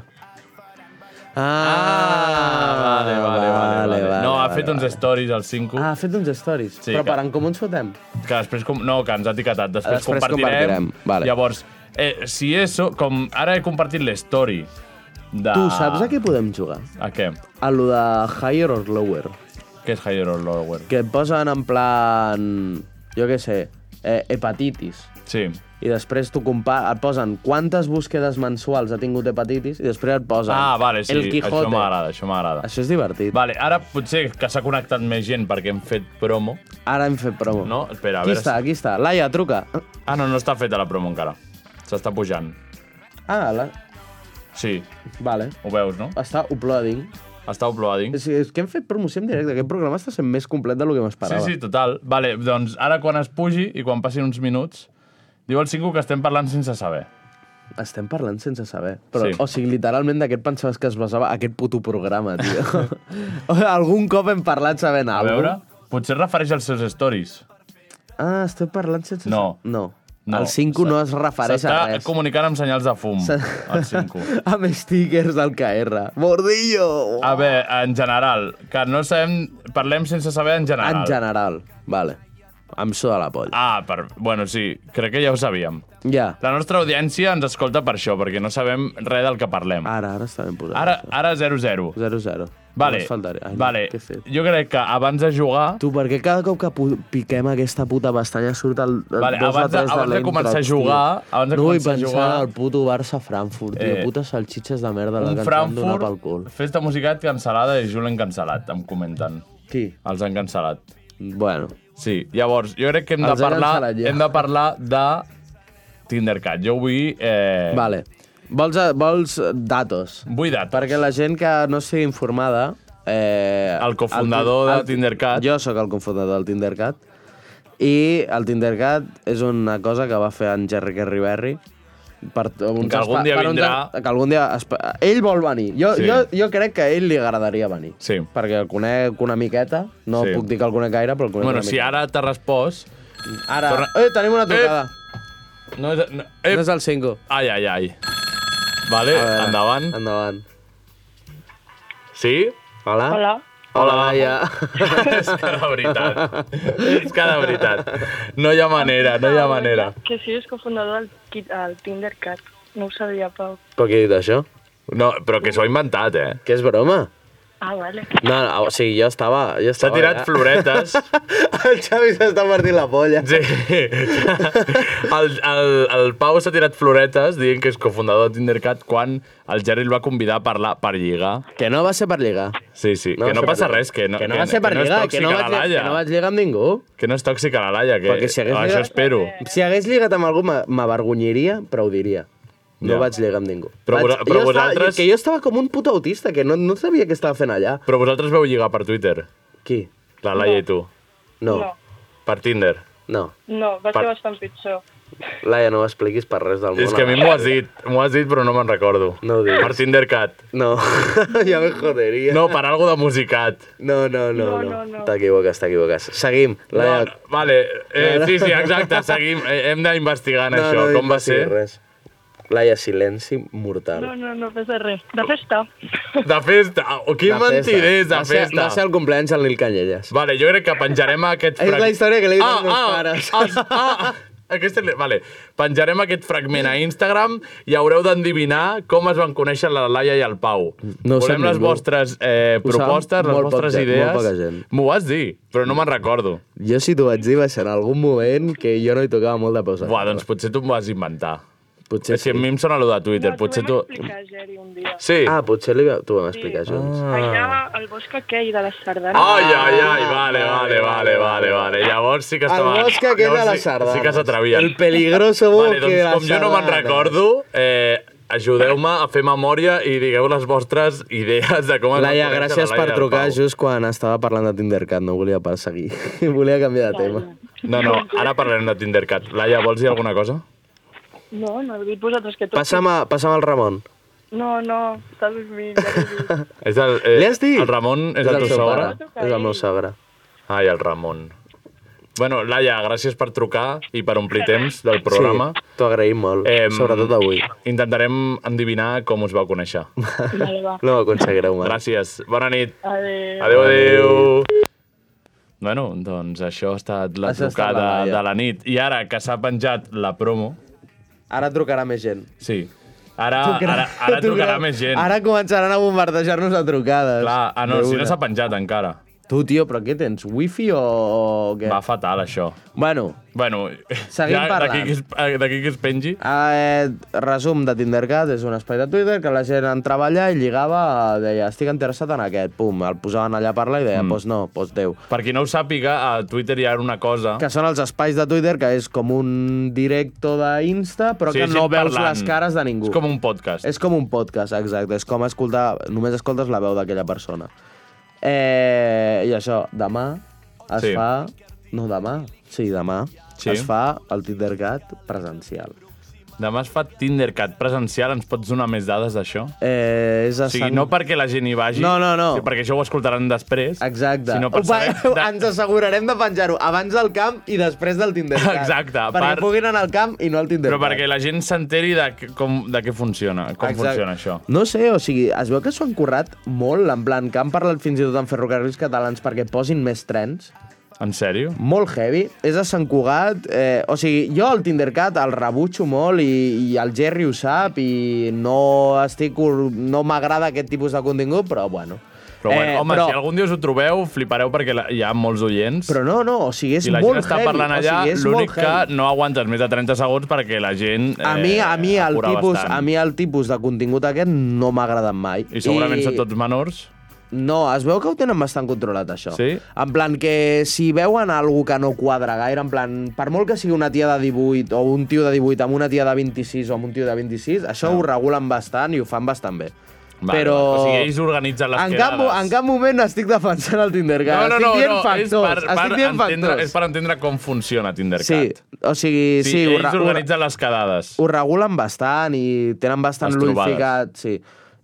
[SPEAKER 4] Ah,
[SPEAKER 3] vale, vale, vale, vale. No, ha fet uns stories al 5,
[SPEAKER 4] Ah, ha fet uns stories.
[SPEAKER 3] Sí,
[SPEAKER 4] Sí, Però
[SPEAKER 3] que-
[SPEAKER 4] per en com ens fotem?
[SPEAKER 3] que després... Com... No, que ens ha etiquetat. Després,
[SPEAKER 4] Després
[SPEAKER 3] compartirem.
[SPEAKER 4] compartirem, vale.
[SPEAKER 3] Llavors, eh, si eso... Com ara he compartit l'story de...
[SPEAKER 4] Tu saps a què podem jugar?
[SPEAKER 3] A què?
[SPEAKER 4] A lo de higher or lower.
[SPEAKER 3] Què és Higher or Lower?
[SPEAKER 4] Que et posen en plan... Jo què sé, eh, hepatitis.
[SPEAKER 3] Sí.
[SPEAKER 4] I després tu compa et posen quantes búsquedes mensuals ha tingut hepatitis i després et posen
[SPEAKER 3] Ah, vale, sí.
[SPEAKER 4] el Quijote.
[SPEAKER 3] Això m'agrada, això m'agrada.
[SPEAKER 4] Això és divertit.
[SPEAKER 3] Vale, ara potser que s'ha connectat més gent perquè hem fet promo.
[SPEAKER 4] Ara hem fet promo.
[SPEAKER 3] No, espera, a
[SPEAKER 4] aquí
[SPEAKER 3] veure
[SPEAKER 4] està, aquí està. Laia, truca.
[SPEAKER 3] Ah, no, no està feta la promo encara. S'està pujant.
[SPEAKER 4] Ah, la...
[SPEAKER 3] Sí,
[SPEAKER 4] vale.
[SPEAKER 3] ho veus, no?
[SPEAKER 4] Està uploading.
[SPEAKER 3] Està uploading.
[SPEAKER 4] És, és que hem fet promoció en directe. Aquest programa està sent més complet del que
[SPEAKER 3] Sí,
[SPEAKER 4] m'esperava.
[SPEAKER 3] sí, total. Vale, doncs ara quan es pugi i quan passin uns minuts, diu el 5 que estem parlant sense saber.
[SPEAKER 4] sí. Estem parlant sense saber. Però,
[SPEAKER 3] Sí.
[SPEAKER 4] sí. O sigui, literalment d'aquest pensaves que es basava aquest puto programa, tio. O sigui, Algun cop hem parlat sabent
[SPEAKER 3] A
[SPEAKER 4] alguna
[SPEAKER 3] veure, potser es refereix als seus stories.
[SPEAKER 4] Ah, estem parlant sense
[SPEAKER 3] No.
[SPEAKER 4] saber. No.
[SPEAKER 3] No,
[SPEAKER 4] El 5 no es refereix a
[SPEAKER 3] S'està
[SPEAKER 4] res.
[SPEAKER 3] comunicant amb senyals de fum,
[SPEAKER 4] Se-
[SPEAKER 3] el 5.
[SPEAKER 4] amb stickers del KR. Bordillo!
[SPEAKER 3] A veure, en general, que no sabem... Parlem sense saber en general.
[SPEAKER 4] En general, vale. Em suda la polla.
[SPEAKER 3] Ah, per... bueno, sí, crec que ja ho sabíem.
[SPEAKER 4] Ja.
[SPEAKER 3] La nostra audiència ens escolta per això, perquè no sabem res del que parlem.
[SPEAKER 4] Ara, ara està ben posat.
[SPEAKER 3] Ara, ara 0-0.
[SPEAKER 4] 0-0.
[SPEAKER 3] Vale,
[SPEAKER 4] Només faltaria. Ai,
[SPEAKER 3] vale.
[SPEAKER 4] què he fet?
[SPEAKER 3] jo crec que abans de jugar...
[SPEAKER 4] Tu, per què cada cop que pu- piquem aquesta puta pestanya surt el, el
[SPEAKER 3] Vale,
[SPEAKER 4] 2
[SPEAKER 3] abans de-
[SPEAKER 4] a 3 de,
[SPEAKER 3] abans de
[SPEAKER 4] l'Eintracht,
[SPEAKER 3] començar a
[SPEAKER 4] tio?
[SPEAKER 3] jugar- abans de
[SPEAKER 4] no vull
[SPEAKER 3] començar a
[SPEAKER 4] pensar
[SPEAKER 3] jugar-
[SPEAKER 4] en el puto Barça-Frankfurt, tio.
[SPEAKER 3] Eh,
[SPEAKER 4] Putes salxitxes de merda, la
[SPEAKER 3] Un
[SPEAKER 4] que ens han donat pel cul.
[SPEAKER 3] Frankfurt, festa musicat cancel·lada i Julen cancel·lat, em comenten.
[SPEAKER 4] Qui?
[SPEAKER 3] Els han cancel·lat.
[SPEAKER 4] Bueno,
[SPEAKER 3] Sí, llavors, jo crec que hem de
[SPEAKER 4] Els han
[SPEAKER 3] parlar,
[SPEAKER 4] cancel·lat ja.
[SPEAKER 3] hem de parlar de Tindercat. Jo vull... Eh,
[SPEAKER 4] vale. Vols, vols datos?
[SPEAKER 3] Vull dates.
[SPEAKER 4] Perquè la gent que no estigui informada... Eh,
[SPEAKER 3] El cofundador de
[SPEAKER 4] el-
[SPEAKER 3] Tindercat.
[SPEAKER 4] Jo sóc el cofundador del Tindercat. I el Tindercat és una cosa que va fer en Jerry Carriberri. Per, uns
[SPEAKER 3] Que algun
[SPEAKER 4] espa-
[SPEAKER 3] dia
[SPEAKER 4] per uns-
[SPEAKER 3] vindrà.
[SPEAKER 4] Que algun dia... espa- Ell vol venir. Jo,
[SPEAKER 3] Sí.
[SPEAKER 4] sí. jo, jo crec que a ell li agradaria venir.
[SPEAKER 3] Sí.
[SPEAKER 4] Perquè el conec una miqueta. No
[SPEAKER 3] Sí.
[SPEAKER 4] sí. puc dir que el conec gaire, però el conec
[SPEAKER 3] Bueno,
[SPEAKER 4] una
[SPEAKER 3] si
[SPEAKER 4] miqueta.
[SPEAKER 3] ara t'ha respost...
[SPEAKER 4] Ara...
[SPEAKER 3] Torna-
[SPEAKER 4] Eh, tenim una trucada.
[SPEAKER 3] No és, no,
[SPEAKER 4] Eh.
[SPEAKER 3] ep,
[SPEAKER 4] No és el 5.
[SPEAKER 3] Ai, ai, ai. Vale, endavant.
[SPEAKER 4] Endavant.
[SPEAKER 3] Sí?
[SPEAKER 4] Hola.
[SPEAKER 10] Hola.
[SPEAKER 4] Hola, Laia.
[SPEAKER 3] és que de veritat. és que de veritat. No hi ha manera, no hi ha manera.
[SPEAKER 10] Que si és cofundador del Kit, el Tindercat. No ho sabia, Pau.
[SPEAKER 4] Però què he dit, això?
[SPEAKER 3] No, però que s'ho ha inventat, eh?
[SPEAKER 4] Que és broma?
[SPEAKER 10] Ah, vale.
[SPEAKER 4] No, no, o sigui, jo estava... Jo
[SPEAKER 3] S'ha
[SPEAKER 4] estava
[SPEAKER 3] tirat floretes.
[SPEAKER 4] el Xavi s'està partint la polla.
[SPEAKER 3] Sí. El, el, el Pau s'ha tirat floretes dient que és cofundador de Tindercat quan el Gerri el va convidar a parlar per lligar.
[SPEAKER 4] Que no va ser per lligar.
[SPEAKER 3] Sí, sí, no que
[SPEAKER 4] va
[SPEAKER 3] no
[SPEAKER 4] ser
[SPEAKER 3] passa
[SPEAKER 4] per lligar.
[SPEAKER 3] res, que no,
[SPEAKER 4] que no va ser per
[SPEAKER 3] no és
[SPEAKER 4] lligar, que no,
[SPEAKER 3] tòxica
[SPEAKER 4] vaig,
[SPEAKER 3] la
[SPEAKER 4] lligar-
[SPEAKER 3] Laia.
[SPEAKER 4] que no vaig lligar amb ningú.
[SPEAKER 3] Que no és tòxica la Laia, que,
[SPEAKER 4] Perquè si hagués
[SPEAKER 3] això
[SPEAKER 4] lligat-
[SPEAKER 3] espero.
[SPEAKER 4] Si hagués lligat amb algú me- m'avergonyiria, però ho diria.
[SPEAKER 3] Ja.
[SPEAKER 4] No vaig lligar amb ningú.
[SPEAKER 3] Però
[SPEAKER 4] vaig,
[SPEAKER 3] vora- però
[SPEAKER 4] jo
[SPEAKER 3] vosaltres-
[SPEAKER 4] Estava, que jo estava com un puto autista, que no, no sabia què estava fent allà.
[SPEAKER 3] Però vosaltres veu lligar per Twitter,
[SPEAKER 4] Qui?
[SPEAKER 3] la Laia i tu.
[SPEAKER 4] No,
[SPEAKER 10] No,
[SPEAKER 3] Per Tinder.
[SPEAKER 4] no.
[SPEAKER 10] no va ser
[SPEAKER 3] Per-
[SPEAKER 10] bastant pitjor.
[SPEAKER 4] Laia, no ho expliquis per res del món.
[SPEAKER 3] és que a mi m'ho has dit, m'ho has dit però no me'n recordo.
[SPEAKER 4] No ho diguis.
[SPEAKER 3] Per Tindercat.
[SPEAKER 4] No, ja me joderia.
[SPEAKER 3] No, per algo de musicat.
[SPEAKER 4] No, no, no,
[SPEAKER 10] No,
[SPEAKER 4] no.
[SPEAKER 10] no, no.
[SPEAKER 4] T'equivoques, t'equivoques. Seguim.
[SPEAKER 3] No,
[SPEAKER 4] Laia,
[SPEAKER 3] no, vale, eh, sí, sí, exacte, seguim. Eh, Hem d'investigar en això, com va
[SPEAKER 4] d'investiguis
[SPEAKER 3] ser.
[SPEAKER 4] Res. Laia, silenci mortal.
[SPEAKER 10] No, no, no passa res. De festa.
[SPEAKER 3] De festa. Oh, quin
[SPEAKER 4] La festa.
[SPEAKER 3] mentider és de
[SPEAKER 4] Va ser-
[SPEAKER 3] festa.
[SPEAKER 4] Va ser el compleanys del Nil Canyelles.
[SPEAKER 3] Vale, jo crec que penjarem aquest
[SPEAKER 4] És la història que li he dit als meus pares.
[SPEAKER 3] Els, ah, aquesta... li- Vale, penjarem aquest fragment a Instagram i haureu d'endevinar com es van conèixer la Laia i el Pau.
[SPEAKER 4] No ho sap
[SPEAKER 3] Volem les
[SPEAKER 4] ningú.
[SPEAKER 3] vostres eh,
[SPEAKER 4] Ho sap
[SPEAKER 3] propostes, les
[SPEAKER 4] molt poc
[SPEAKER 3] vostres
[SPEAKER 4] gent, molt
[SPEAKER 3] idees.
[SPEAKER 4] poca gent.
[SPEAKER 3] M'ho vas dir, però no me'n recordo.
[SPEAKER 4] Jo si t'ho vaig dir va ser en algun moment que jo no hi tocava molt de peus. a
[SPEAKER 3] Buah,
[SPEAKER 4] terra.
[SPEAKER 3] doncs potser tu m'ho vas inventar.
[SPEAKER 4] Potser
[SPEAKER 3] Sí, sí.
[SPEAKER 4] sí.
[SPEAKER 3] a mi em sona allò de Twitter,
[SPEAKER 10] No,
[SPEAKER 3] potser
[SPEAKER 10] t'ho
[SPEAKER 3] tu...
[SPEAKER 10] vam explicar, Geri, un dia.
[SPEAKER 3] Sí.
[SPEAKER 4] Ah, potser li... t'ho vam explicar junts.
[SPEAKER 3] Ah.
[SPEAKER 10] Allà, al bosc aquell de les sardanes.
[SPEAKER 3] Ai, ai, ai, vale, vale, vale, vale, vale. Llavors sí que estava...
[SPEAKER 4] El bosc aquell de
[SPEAKER 3] llavors
[SPEAKER 4] les
[SPEAKER 3] sí-
[SPEAKER 4] sardanes.
[SPEAKER 3] Sí que s'atrevia.
[SPEAKER 4] El peligroso
[SPEAKER 3] vale,
[SPEAKER 4] bosque
[SPEAKER 3] doncs,
[SPEAKER 4] de les
[SPEAKER 3] com jo no me'n
[SPEAKER 4] sardanes.
[SPEAKER 3] recordo, eh, ajudeu-me a fer memòria i digueu les vostres idees de com... es va
[SPEAKER 4] Laia,
[SPEAKER 3] conèixer
[SPEAKER 4] gràcies
[SPEAKER 3] la Laia
[SPEAKER 4] per
[SPEAKER 3] del
[SPEAKER 4] trucar
[SPEAKER 3] Pau.
[SPEAKER 4] just quan estava parlant de Tindercat, no volia perseguir. volia canviar de tema.
[SPEAKER 3] No, no, ara parlarem de Tindercat. Laia, vols dir alguna cosa?
[SPEAKER 10] No, no, heu dit vosaltres que tot...
[SPEAKER 4] Passa'm, a, passa'm al Ramon.
[SPEAKER 10] No, no, està dormint, ja l'he dit.
[SPEAKER 3] És el, eh,
[SPEAKER 4] Li has dit?
[SPEAKER 3] El Ramon és,
[SPEAKER 4] el
[SPEAKER 3] el teu
[SPEAKER 4] seu
[SPEAKER 3] sogre?
[SPEAKER 4] pare. És el meu sogre.
[SPEAKER 3] Ai, el Ramon. Bueno, Laia, gràcies per trucar i per omplir temps del programa.
[SPEAKER 4] Sí, t'ho agraïm molt,
[SPEAKER 3] Em,
[SPEAKER 4] sobretot avui.
[SPEAKER 3] Intentarem endevinar com us vau conèixer.
[SPEAKER 10] Vale, va.
[SPEAKER 4] No ho aconseguireu mai.
[SPEAKER 3] Gràcies. Bona nit.
[SPEAKER 10] Adéu.
[SPEAKER 3] Adéu, adéu. Bueno, doncs això ha estat la
[SPEAKER 4] Això ha estat
[SPEAKER 3] trucada
[SPEAKER 4] la Laia.
[SPEAKER 3] de la nit. I ara que s'ha penjat la promo,
[SPEAKER 4] Ara trucarà més gent.
[SPEAKER 3] sí, ara, ara, ara trucarà més gent.
[SPEAKER 4] Ara començaran a bombardejar-nos de trucades.
[SPEAKER 3] Clar, ah, no,
[SPEAKER 4] De
[SPEAKER 3] si no
[SPEAKER 4] una.
[SPEAKER 3] s'ha penjat encara.
[SPEAKER 4] Tu, tio, però què tens? Wifi o, o què?
[SPEAKER 3] Va fatal, això.
[SPEAKER 4] Bueno,
[SPEAKER 3] Bueno,
[SPEAKER 4] Seguim
[SPEAKER 3] d'aquí
[SPEAKER 4] parlant.
[SPEAKER 3] que, es, eh, d'aquí que es pengi...
[SPEAKER 4] eh, resum de Tindercat és un espai de Twitter que la gent entrava allà i lligava, eh, deia, estic interessat en aquest, pum, el posaven allà a parlar i
[SPEAKER 3] Mm.
[SPEAKER 4] deia, doncs no, doncs Déu.
[SPEAKER 3] Per qui no ho sàpiga, a Twitter hi ha una cosa...
[SPEAKER 4] Que són els espais de Twitter que és com un directo d'Insta, però que
[SPEAKER 3] gent
[SPEAKER 4] no veus
[SPEAKER 3] parlant.
[SPEAKER 4] les cares de ningú.
[SPEAKER 3] És com un podcast.
[SPEAKER 4] És com un podcast, exacte. És com escoltar... Només escoltes la veu d'aquella persona. Eh, I això, demà es
[SPEAKER 3] Sí.
[SPEAKER 4] sí. fa... No, demà. Sí, demà
[SPEAKER 3] Sí.
[SPEAKER 4] sí. es fa el Tindercat presencial.
[SPEAKER 3] Demà es fa Tindercat presencial, ens pots donar més dades d'això?
[SPEAKER 4] Eh, és a
[SPEAKER 3] O sigui,
[SPEAKER 4] Sant...
[SPEAKER 3] no perquè la gent hi vagi,
[SPEAKER 4] No, no, no.
[SPEAKER 3] sí, perquè això ho escoltaran després,
[SPEAKER 4] Exacte.
[SPEAKER 3] sinó per
[SPEAKER 4] Ho
[SPEAKER 3] saber...
[SPEAKER 4] fa- Ens assegurarem de penjar-ho abans del camp i després del Tindercat.
[SPEAKER 3] Exacte,
[SPEAKER 4] Perquè
[SPEAKER 3] per-
[SPEAKER 4] puguin anar al camp i no al Tindercat.
[SPEAKER 3] Però perquè la gent s'enteri de, que- com, de què funciona, com
[SPEAKER 4] Exacte.
[SPEAKER 3] funciona això.
[SPEAKER 4] No sé, o sigui, es veu que s'ho han currat molt, en plan, que han parlat fins i tot amb ferrocarrils catalans perquè posin més trens.
[SPEAKER 3] En sèrio?
[SPEAKER 4] Molt heavy. És de Sant Cugat. Eh, o sigui, jo el Tindercat el rebutxo molt i, i el Jerry ho sap i no estic... cor- No m'agrada aquest tipus de contingut, però bueno. Eh,
[SPEAKER 3] Però, bueno, home, però... si algun dia us ho trobeu, flipareu perquè la- hi ha molts oients.
[SPEAKER 4] Però no, no, o sigui, és
[SPEAKER 3] I la
[SPEAKER 4] molt
[SPEAKER 3] gent està
[SPEAKER 4] heavy,
[SPEAKER 3] parlant allà,
[SPEAKER 4] o sigui, és
[SPEAKER 3] l'únic
[SPEAKER 4] molt
[SPEAKER 3] que
[SPEAKER 4] heavy.
[SPEAKER 3] no aguantes més de 30 segons perquè la gent eh,
[SPEAKER 4] A mi, a mi, el
[SPEAKER 3] apura
[SPEAKER 4] tipus,
[SPEAKER 3] bastant.
[SPEAKER 4] a mi el tipus de contingut aquest no m'ha agradat mai.
[SPEAKER 3] I segurament són tots menors.
[SPEAKER 4] No, es veu que ho tenen bastant controlat, això.
[SPEAKER 3] Sí?
[SPEAKER 4] En plan que si veuen algú que no quadra gaire, en plan, per molt que sigui una tia de 18 o un tio de 18 amb una tia de 26 o amb un tio de 26, això ho regulen bastant i ho fan bastant bé.
[SPEAKER 3] Vale,
[SPEAKER 4] Però...
[SPEAKER 3] vale. O sigui, ells organitzen les
[SPEAKER 4] en cap,
[SPEAKER 3] quedades.
[SPEAKER 4] mo- en cap moment estic defensant el Tinder, que
[SPEAKER 3] No, no, no,
[SPEAKER 4] estic dient
[SPEAKER 3] no, és per,
[SPEAKER 4] factors,
[SPEAKER 3] per
[SPEAKER 4] estic dient
[SPEAKER 3] entendre,
[SPEAKER 4] factors.
[SPEAKER 3] és per entendre com funciona Tindercat.
[SPEAKER 4] Sí, o sigui, sí, ho,
[SPEAKER 3] ells
[SPEAKER 4] re- ho,
[SPEAKER 3] organitzen les quedades.
[SPEAKER 4] ho regulen bastant i tenen bastant
[SPEAKER 3] Les
[SPEAKER 4] l'ull
[SPEAKER 3] trobades.
[SPEAKER 4] ficat, sí.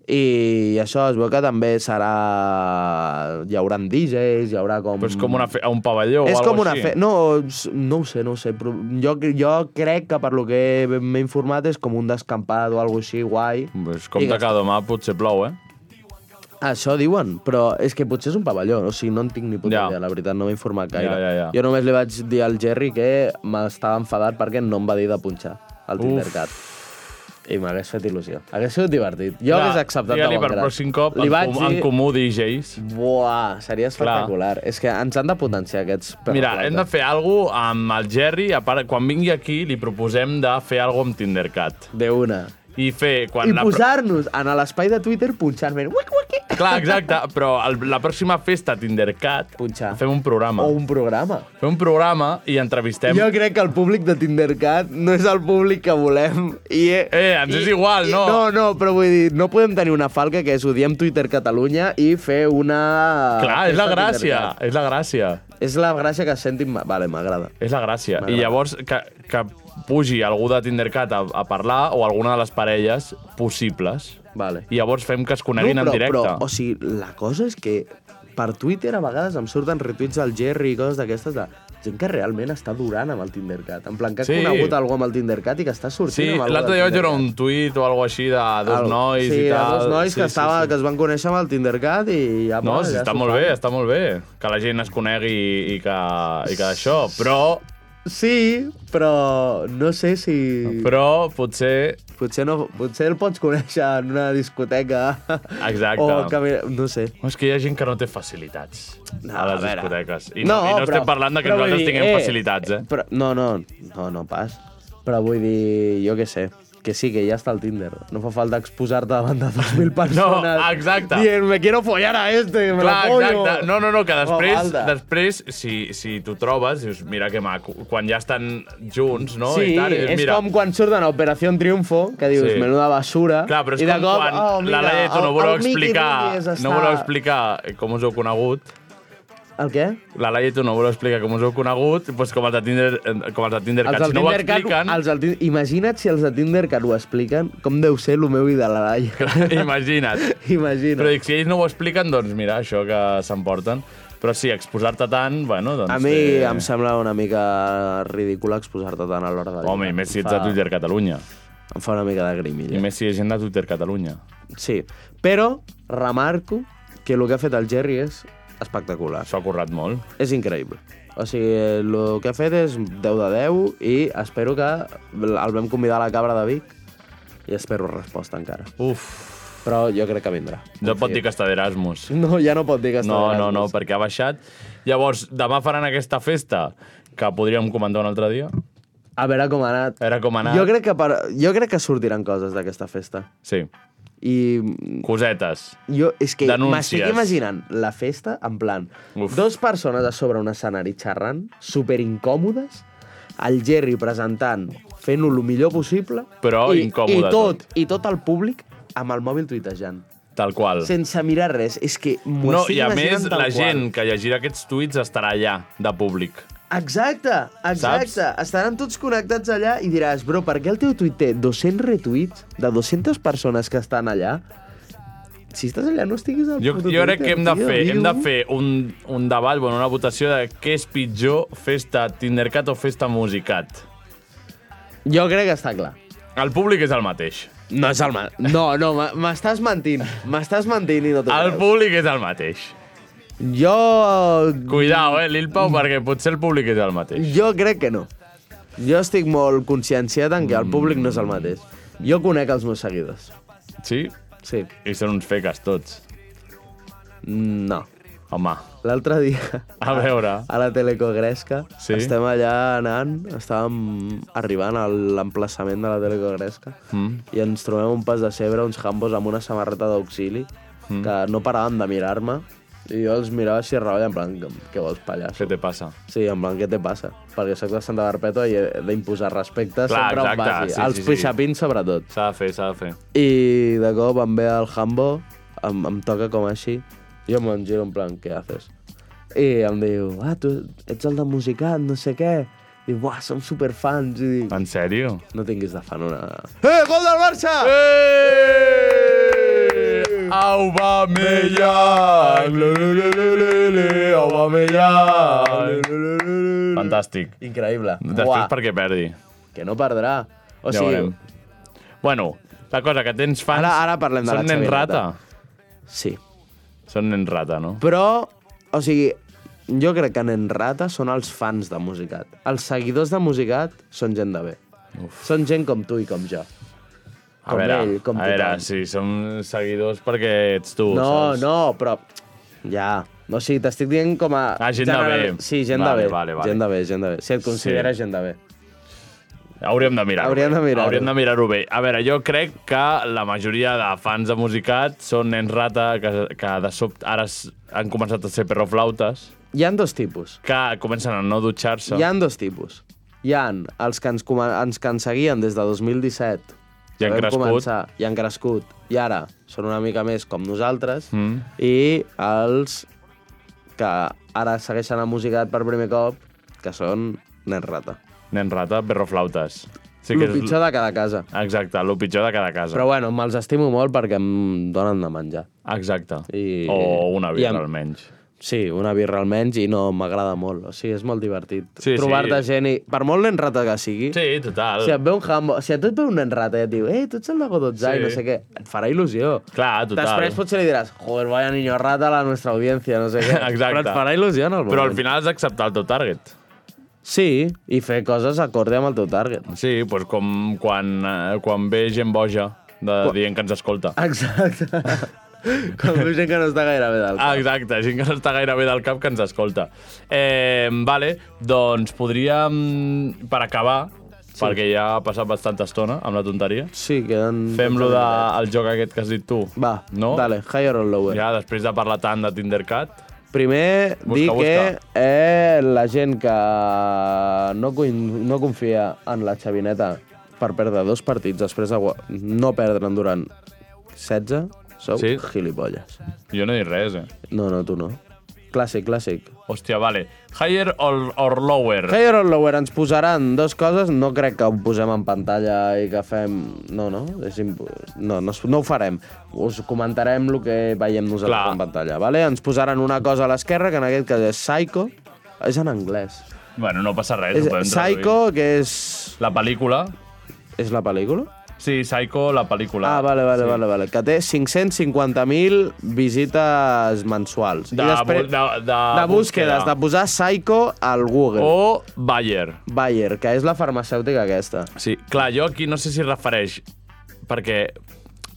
[SPEAKER 4] I això es veu que també serà... Hi haurà DJs, hi haurà com...
[SPEAKER 3] Però és com una fe... a un pavelló
[SPEAKER 4] és
[SPEAKER 3] o
[SPEAKER 4] com
[SPEAKER 3] alguna
[SPEAKER 4] una
[SPEAKER 3] així.
[SPEAKER 4] fe... No, s- no ho sé, no ho sé. Però jo, jo crec que per lo que m'he informat és com un descampat o alguna així guai.
[SPEAKER 3] Pues com
[SPEAKER 4] I
[SPEAKER 3] de
[SPEAKER 4] que-
[SPEAKER 3] cada demà potser plou, eh?
[SPEAKER 4] Això diuen, però és que potser és un pavelló, o sigui, no en tinc ni puta
[SPEAKER 3] Ja.
[SPEAKER 4] idea, la veritat, no m'he informat gaire.
[SPEAKER 3] Ja, ja, ja.
[SPEAKER 4] Jo només li vaig dir al Jerry que m'estava enfadat perquè no em va dir de punxar al
[SPEAKER 3] Uf.
[SPEAKER 4] Tindercat. I m'hagués fet il·lusió. Hagués sigut divertit. Jo
[SPEAKER 3] Clar,
[SPEAKER 4] hagués acceptat
[SPEAKER 3] digue-li
[SPEAKER 4] de bon
[SPEAKER 3] per
[SPEAKER 4] grat.
[SPEAKER 3] pròxim cop,
[SPEAKER 4] Li
[SPEAKER 3] en,
[SPEAKER 4] vaig
[SPEAKER 3] com, en comú DJs.
[SPEAKER 4] Buah, seria espectacular. Clar. És que ens han de potenciar aquests...
[SPEAKER 3] Mira, hem de fer alguna cosa amb el Jerry. A part, quan vingui aquí, li proposem de fer alguna cosa amb Tindercat.
[SPEAKER 4] De una.
[SPEAKER 3] I fer... Quan
[SPEAKER 4] I
[SPEAKER 3] la pro-
[SPEAKER 4] posar-nos en l'espai de Twitter punxant-me. Uic, uic, uic.
[SPEAKER 3] Clar, exacte, però el, la pròxima festa Tindercat Punxar. fem un programa.
[SPEAKER 4] O un programa.
[SPEAKER 3] Fem un programa i entrevistem...
[SPEAKER 4] Jo crec que el públic de Tindercat no és el públic que volem. I,
[SPEAKER 3] Eh, ens és igual,
[SPEAKER 4] i,
[SPEAKER 3] no?
[SPEAKER 4] No, no, però vull dir, no podem tenir una falca que és odiem Twitter Catalunya i fer una... Ah,
[SPEAKER 3] Clar, és la
[SPEAKER 4] festa
[SPEAKER 3] gràcia,
[SPEAKER 4] Tindercat.
[SPEAKER 3] és la gràcia.
[SPEAKER 4] És la gràcia que sentim... Vale, m'agrada.
[SPEAKER 3] És la gràcia. I llavors que, que pugi algú de Tindercat a, a parlar o alguna de les parelles possibles.
[SPEAKER 4] Vale.
[SPEAKER 3] I llavors fem que es coneguin
[SPEAKER 4] però,
[SPEAKER 3] en directe.
[SPEAKER 4] Però, o sigui, la cosa és que per Twitter a vegades em surten retuits del Jerry i coses d'aquestes de gent que realment està durant amb el Tindercat. En plan, que ha
[SPEAKER 3] Sí.
[SPEAKER 4] conegut algú amb el Tindercat i que està sortint
[SPEAKER 3] sí,
[SPEAKER 4] amb algú
[SPEAKER 3] l'altre
[SPEAKER 4] del
[SPEAKER 3] dia vaig veure
[SPEAKER 4] Tindercat.
[SPEAKER 3] un tuit o alguna així de dos
[SPEAKER 4] Algo.
[SPEAKER 3] nois
[SPEAKER 4] sí,
[SPEAKER 3] i tal.
[SPEAKER 4] Sí, dos nois que, estava, que es van conèixer amb el Tindercat i ja...
[SPEAKER 3] No,
[SPEAKER 4] va,
[SPEAKER 3] sí,
[SPEAKER 4] ja
[SPEAKER 3] està
[SPEAKER 4] s'ho
[SPEAKER 3] molt
[SPEAKER 4] fan.
[SPEAKER 3] bé, està molt bé. Que la gent es conegui i, i que, i que això. Però,
[SPEAKER 4] Sí, però no sé si...
[SPEAKER 3] però potser...
[SPEAKER 4] Potser, no, potser el pots conèixer en una discoteca.
[SPEAKER 3] Exacte.
[SPEAKER 4] O camina... No sé.
[SPEAKER 3] És que hi ha gent que no té facilitats no, a les
[SPEAKER 4] a veure.
[SPEAKER 3] discoteques. I no, i no estem parlant de que
[SPEAKER 4] però vull
[SPEAKER 3] nosaltres
[SPEAKER 4] dir,
[SPEAKER 3] tinguem facilitats, eh?
[SPEAKER 4] Però, no, no, no, no pas. Però vull dir, jo què sé, que sí, que ja està el Tinder. No fa falta exposar-te davant de 2.000
[SPEAKER 3] No,
[SPEAKER 4] persones.
[SPEAKER 3] exacte.
[SPEAKER 4] Dient, me quiero follar a este, me la
[SPEAKER 3] Clar,
[SPEAKER 4] pollo.
[SPEAKER 3] exacte. No, no, no, que després,
[SPEAKER 4] falta.
[SPEAKER 3] després si, si t'ho trobes, dius, mira que maco. Quan ja estan junts, no?
[SPEAKER 4] sí,
[SPEAKER 3] I tal, i dius,
[SPEAKER 4] és
[SPEAKER 3] mira,
[SPEAKER 4] com quan surten a Operació Triunfo, que dius,
[SPEAKER 3] Sí.
[SPEAKER 4] sí. menuda basura.
[SPEAKER 3] Clar, però és
[SPEAKER 4] i de
[SPEAKER 3] com
[SPEAKER 4] cop,
[SPEAKER 3] quan
[SPEAKER 4] oh, mira,
[SPEAKER 3] la Laieto no
[SPEAKER 4] el-
[SPEAKER 3] voleu
[SPEAKER 4] el Mickey
[SPEAKER 3] explicar,
[SPEAKER 4] Mouse
[SPEAKER 3] no
[SPEAKER 4] està-
[SPEAKER 3] voleu explicar com us heu conegut,
[SPEAKER 4] El què?
[SPEAKER 3] la Laieto no voleu explicar com us heu conegut, doncs com els de Tinder, com els de Tinder
[SPEAKER 4] Els
[SPEAKER 3] que
[SPEAKER 4] del
[SPEAKER 3] si no ho
[SPEAKER 4] Tindercat-
[SPEAKER 3] expliquen,
[SPEAKER 4] els del Tin- Imagina't si els de Tinder que ho expliquen, com deu ser el meu i de la Laia.
[SPEAKER 3] imagina't.
[SPEAKER 4] Imagina't.
[SPEAKER 3] Però dic, si ells no ho expliquen, doncs mira, això que s'emporten. Però sí, exposar-te tant, bueno, doncs...
[SPEAKER 4] A mi
[SPEAKER 3] eh,
[SPEAKER 4] em sembla una mica ridícul exposar-te tant a l'hora de...
[SPEAKER 3] Home, i més si ets de Twitter Catalunya.
[SPEAKER 4] Em fa una mica de grimilla.
[SPEAKER 3] I més si és gent de Twitter Catalunya.
[SPEAKER 4] Sí, però remarco que el que ha fet el Jerry és espectacular.
[SPEAKER 3] S'ho ha currat molt.
[SPEAKER 4] És increïble. O sigui, el que ha fet és 10 de 10 i espero que el vam convidar a la cabra de Vic i espero resposta encara.
[SPEAKER 3] Uf.
[SPEAKER 4] Però jo crec que vindrà.
[SPEAKER 3] No pot dir que està d'Erasmus.
[SPEAKER 4] No, ja no pot dir que està doncs.
[SPEAKER 3] No, no,
[SPEAKER 4] d'Erasmus.
[SPEAKER 3] no, perquè ha baixat. Llavors, demà faran aquesta festa, que podríem comentar un altre dia.
[SPEAKER 4] A veure com ha anat.
[SPEAKER 3] A veure com ha anat.
[SPEAKER 4] Jo crec que, per, jo crec que sortiran coses d'aquesta festa.
[SPEAKER 3] Sí,
[SPEAKER 4] I
[SPEAKER 3] cosetes.
[SPEAKER 4] jo és que
[SPEAKER 3] Denúncies.
[SPEAKER 4] m'estic imaginant la festa en plan
[SPEAKER 3] Uf.
[SPEAKER 4] Uf. dos persones a sobre un escenari xerrant, super incòmodes, el Jerry presentant, fent-ho el millor possible,
[SPEAKER 3] Però
[SPEAKER 4] i, i
[SPEAKER 3] incòmode,
[SPEAKER 4] tot, i tot el públic amb el mòbil tuitejant,
[SPEAKER 3] Tal qual.
[SPEAKER 4] sense mirar res. És que m'ho
[SPEAKER 3] No,
[SPEAKER 4] estic
[SPEAKER 3] i a
[SPEAKER 4] imaginant
[SPEAKER 3] més,
[SPEAKER 4] tal
[SPEAKER 3] la
[SPEAKER 4] qual.
[SPEAKER 3] gent que llegirà aquests tuits estarà allà, de públic.
[SPEAKER 4] Exacte, exacte. Saps? Estaran tots connectats allà i diràs, bro, per què el teu tuit té 200 retuits de 200 persones que estan allà? Si estàs allà, no estiguis al
[SPEAKER 3] Jo,
[SPEAKER 4] puto
[SPEAKER 3] jo crec
[SPEAKER 4] Twitter,
[SPEAKER 3] que hem de
[SPEAKER 4] tio,
[SPEAKER 3] fer, hem de
[SPEAKER 4] viu.
[SPEAKER 3] fer un, un debat, bueno, una votació de què és pitjor, festa Tindercat o festa Musicat.
[SPEAKER 4] Jo crec que està clar.
[SPEAKER 3] El públic és el mateix.
[SPEAKER 4] No és el ma... No, no, m'estàs mentint. M'estàs mentint i no t'ho
[SPEAKER 3] El
[SPEAKER 4] creus.
[SPEAKER 3] públic és el mateix.
[SPEAKER 4] Jo...
[SPEAKER 3] Cuidao, eh, Lil
[SPEAKER 4] Mm.
[SPEAKER 3] Pau, perquè potser el públic és el mateix.
[SPEAKER 4] Jo crec que no. Jo estic molt conscienciat en que el públic no és el mateix. Jo conec els meus seguidors.
[SPEAKER 3] Sí?
[SPEAKER 4] Sí.
[SPEAKER 3] I són uns feques tots.
[SPEAKER 4] No.
[SPEAKER 3] Home.
[SPEAKER 4] L'altre dia...
[SPEAKER 3] A veure.
[SPEAKER 4] A la Telecogresca.
[SPEAKER 3] Sí?
[SPEAKER 4] Estem allà anant, estàvem arribant a l'emplaçament de la Telecogresca
[SPEAKER 3] Mm.
[SPEAKER 4] i ens trobem un pas de cebre, uns jambos amb una samarreta d'auxili
[SPEAKER 3] Mm.
[SPEAKER 4] que no paraven de mirar-me i jo els mirava així a raolla en plan, "Què- què vols, pallasso?
[SPEAKER 3] Què te passa?
[SPEAKER 4] Sí, en plan, què te passa? Perquè soc de Santa Barpeta i he d'imposar
[SPEAKER 3] Clar,
[SPEAKER 4] respecte sempre
[SPEAKER 3] exacte,
[SPEAKER 4] em vagi.
[SPEAKER 3] sí,
[SPEAKER 4] als
[SPEAKER 3] sí, sí.
[SPEAKER 4] pixapins, sobretot.
[SPEAKER 3] S'ha de fer, s'ha de fer.
[SPEAKER 4] I de cop em ve el Hambo, em, em toca com així, jo me'n giro en plan, què haces? I em diu, ah, tu ets el de musicat, no sé què. Diu, buah, som superfans. I dic,
[SPEAKER 3] En sèrio?
[SPEAKER 4] no tinguis de fan una...
[SPEAKER 3] Eh, gol del Barça! Eh! Aubameyang! Le, le, le, le, le, le, Aubameyang! Fantàstic.
[SPEAKER 4] Increïble.
[SPEAKER 3] Després perquè perdi.
[SPEAKER 4] Que no perdrà. O
[SPEAKER 3] ja
[SPEAKER 4] sigui,
[SPEAKER 3] veurem. Bueno, la cosa que tens fans...
[SPEAKER 4] Ara- ara parlem de la
[SPEAKER 3] Són nens
[SPEAKER 4] Xavineta.
[SPEAKER 3] rata.
[SPEAKER 4] Sí.
[SPEAKER 3] Són nens rata, no?
[SPEAKER 4] Però, o sigui, jo crec que nen rata són els fans de musicat. Els seguidors de musicat són gent de bé. Uf. Són gent com tu i com jo.
[SPEAKER 3] A
[SPEAKER 4] Com
[SPEAKER 3] veure,
[SPEAKER 4] ell, com
[SPEAKER 3] a veure,
[SPEAKER 4] tothom.
[SPEAKER 3] si som seguidors perquè ets tu,
[SPEAKER 4] No,
[SPEAKER 3] saps?
[SPEAKER 4] no, però... Ja. No, o sigui, t'estic dient com a...
[SPEAKER 3] Ah, gent de bé.
[SPEAKER 4] Sí, gent
[SPEAKER 3] Vale,
[SPEAKER 4] de bé.
[SPEAKER 3] vale, vale.
[SPEAKER 4] Gent de bé, gent de bé. Si et consideres sí. gent de bé.
[SPEAKER 3] Hauríem de mirar-ho
[SPEAKER 4] Hauríem de
[SPEAKER 3] bé.
[SPEAKER 4] mirar-ho.
[SPEAKER 3] Hauríem de mirar-ho bé. A veure, jo crec que la majoria de fans de Musicat són nens rata que, que de sobte ara s- han començat a ser perroflautes,
[SPEAKER 4] Hi han dos tipus.
[SPEAKER 3] que comencen a no dutxar-se.
[SPEAKER 4] Hi han dos tipus. Hi han els que ens, coma- ens que ens seguien des de 2017.
[SPEAKER 3] I han
[SPEAKER 4] Vam
[SPEAKER 3] crescut.
[SPEAKER 4] Començar, I han crescut. I ara són una mica més com nosaltres.
[SPEAKER 3] Mm.
[SPEAKER 4] I els que ara segueixen a musicat per primer cop, que són nens rata.
[SPEAKER 3] Nens rata, perroflautes. Sí
[SPEAKER 4] Sí
[SPEAKER 3] que
[SPEAKER 4] el pitjor de cada casa.
[SPEAKER 3] Exacte, el pitjor de cada casa.
[SPEAKER 4] Però bueno, me'ls estimo molt perquè em donen de menjar.
[SPEAKER 3] Exacte.
[SPEAKER 4] I-
[SPEAKER 3] O una
[SPEAKER 4] i
[SPEAKER 3] birra,
[SPEAKER 4] amb-
[SPEAKER 3] almenys.
[SPEAKER 4] Sí, una birra almenys i no m'agrada molt. O sigui, és molt divertit.
[SPEAKER 3] Sí,
[SPEAKER 4] Trobar-te
[SPEAKER 3] sí.
[SPEAKER 4] gent i... Per molt nen rata que sigui,
[SPEAKER 3] Sí, total.
[SPEAKER 4] si et ve un jambo... Si a tu et ve un nen rata i et diu «Ei, tu ets el de Godotzà
[SPEAKER 3] Sí.
[SPEAKER 4] i no sé què», et farà il·lusió.
[SPEAKER 3] Clar, total.
[SPEAKER 4] Després potser li diràs «Joder, vaya niño rata a la nostra audiència», no sé què.
[SPEAKER 3] Exacte.
[SPEAKER 4] Però et farà il·lusió en el moment.
[SPEAKER 3] Però al final has acceptat el teu target.
[SPEAKER 4] Sí, i fer coses acorde amb el teu target.
[SPEAKER 3] Sí, doncs com quan, eh, quan ve gent boja de dient que ens escolta.
[SPEAKER 4] Exacte. Com veu gent que no està gaire bé
[SPEAKER 3] Ah.
[SPEAKER 4] del cap.
[SPEAKER 3] Exacte, gent que no està gaire bé del cap que ens escolta. Eh, vale, doncs podríem, per acabar, sí. perquè ja ha passat bastanta estona amb la tonteria,
[SPEAKER 4] Sí, queden...
[SPEAKER 3] fem-lo del joc aquest que has dit tu.
[SPEAKER 4] Va,
[SPEAKER 3] no?
[SPEAKER 4] dale, higher or lower.
[SPEAKER 3] Ja, després de parlar tant de Tindercat,
[SPEAKER 4] Primer,
[SPEAKER 3] Busca,
[SPEAKER 4] busca, dir
[SPEAKER 3] busca.
[SPEAKER 4] que eh, la gent que no, coin- no confia en la Xavineta per perdre dos partits després de gua- no perdre'n durant 16, sou
[SPEAKER 3] Sí.
[SPEAKER 4] sí. gilipolles.
[SPEAKER 3] jo no he dit res, eh?
[SPEAKER 4] No, no, tu no. Clàssic, clàssic.
[SPEAKER 3] Hòstia, vale. Higher or, or lower?
[SPEAKER 4] Higher or Lower ens posaran dos coses, no crec que ho posem en pantalla i que fem... No, no, és impo... no, no, es- no ho farem. Us comentarem el que veiem nosaltres
[SPEAKER 3] Clar.
[SPEAKER 4] en pantalla, vale? Ens posaran una cosa a l'esquerra, que en aquest cas és Psycho, és en anglès.
[SPEAKER 3] Bueno, no passa res, ho
[SPEAKER 4] És
[SPEAKER 3] podem
[SPEAKER 4] Psycho,
[SPEAKER 3] traduir.
[SPEAKER 4] que és...
[SPEAKER 3] La pel·lícula?
[SPEAKER 4] És la pel·lícula?
[SPEAKER 3] Sí, Psycho, la pel·lícula.
[SPEAKER 4] Ah, vale, vale,
[SPEAKER 3] Sí.
[SPEAKER 4] vale, vale. Que té 550.000 visites mensuals.
[SPEAKER 3] De, bu- de, de,
[SPEAKER 4] de búsquedes, de posar Psycho al Google. O...
[SPEAKER 3] O Bayer.
[SPEAKER 4] Bayer, que és la farmacèutica aquesta.
[SPEAKER 3] Sí, clar, jo aquí no sé si es refereix, perquè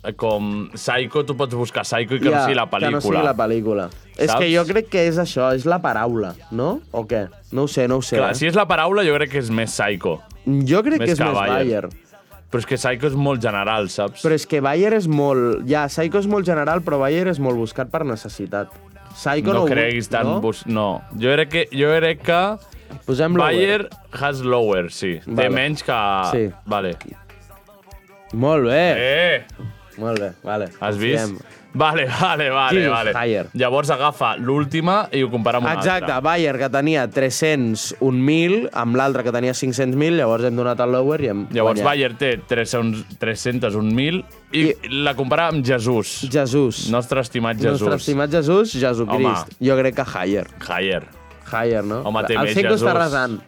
[SPEAKER 3] eh, com Psycho tu pots buscar Psycho i que
[SPEAKER 4] Ja,
[SPEAKER 3] no sigui la
[SPEAKER 4] Que no sigui
[SPEAKER 3] pel·lícula.
[SPEAKER 4] la pel·lícula. És que jo crec que és això, és la paraula, no? O què? No ho sé, no ho sé.
[SPEAKER 3] clar,
[SPEAKER 4] eh?
[SPEAKER 3] si és la paraula jo crec que és més Psycho.
[SPEAKER 4] Jo crec
[SPEAKER 3] més
[SPEAKER 4] que és
[SPEAKER 3] que
[SPEAKER 4] més
[SPEAKER 3] Bayer.
[SPEAKER 4] Bayer.
[SPEAKER 3] Però és que Psycho és molt general, saps?
[SPEAKER 4] Però és que Bayer és molt... Ja, Psycho és molt general, però Bayer és molt buscat per necessitat.
[SPEAKER 3] no
[SPEAKER 4] Psycho no, ho-
[SPEAKER 3] creguis tant...
[SPEAKER 4] no?
[SPEAKER 3] Bus... No, jo crec que, jo crec que
[SPEAKER 4] Posem lower.
[SPEAKER 3] Bayer has lower, sí. Té
[SPEAKER 4] Vale.
[SPEAKER 3] menys que...
[SPEAKER 4] Sí.
[SPEAKER 3] Vale.
[SPEAKER 4] Molt bé.
[SPEAKER 3] Eh!
[SPEAKER 4] Molt bé, vale.
[SPEAKER 3] Has vist?
[SPEAKER 4] Confiem.
[SPEAKER 3] Vale, vale, vale.
[SPEAKER 4] Jesus,
[SPEAKER 3] vale.
[SPEAKER 4] Bayer.
[SPEAKER 3] Llavors agafa l'última i ho compara amb una
[SPEAKER 4] Exacte,
[SPEAKER 3] altra.
[SPEAKER 4] Bayer, que tenia 301.000, amb l'altre que tenia 500.000, llavors hem donat el lower i hem
[SPEAKER 3] Llavors,
[SPEAKER 4] guanyat.
[SPEAKER 3] Bayer té 300 301.000 i, I la compara amb Jesús.
[SPEAKER 4] Jesús.
[SPEAKER 3] Nostre estimat Jesús.
[SPEAKER 4] Nostre estimat Jesús, Jesucrist.
[SPEAKER 3] Home.
[SPEAKER 4] Jo crec que higher.
[SPEAKER 3] Higher.
[SPEAKER 4] Higher, no?
[SPEAKER 3] Home, té
[SPEAKER 4] el
[SPEAKER 3] més
[SPEAKER 4] cinco
[SPEAKER 3] Jesús.
[SPEAKER 4] està resant.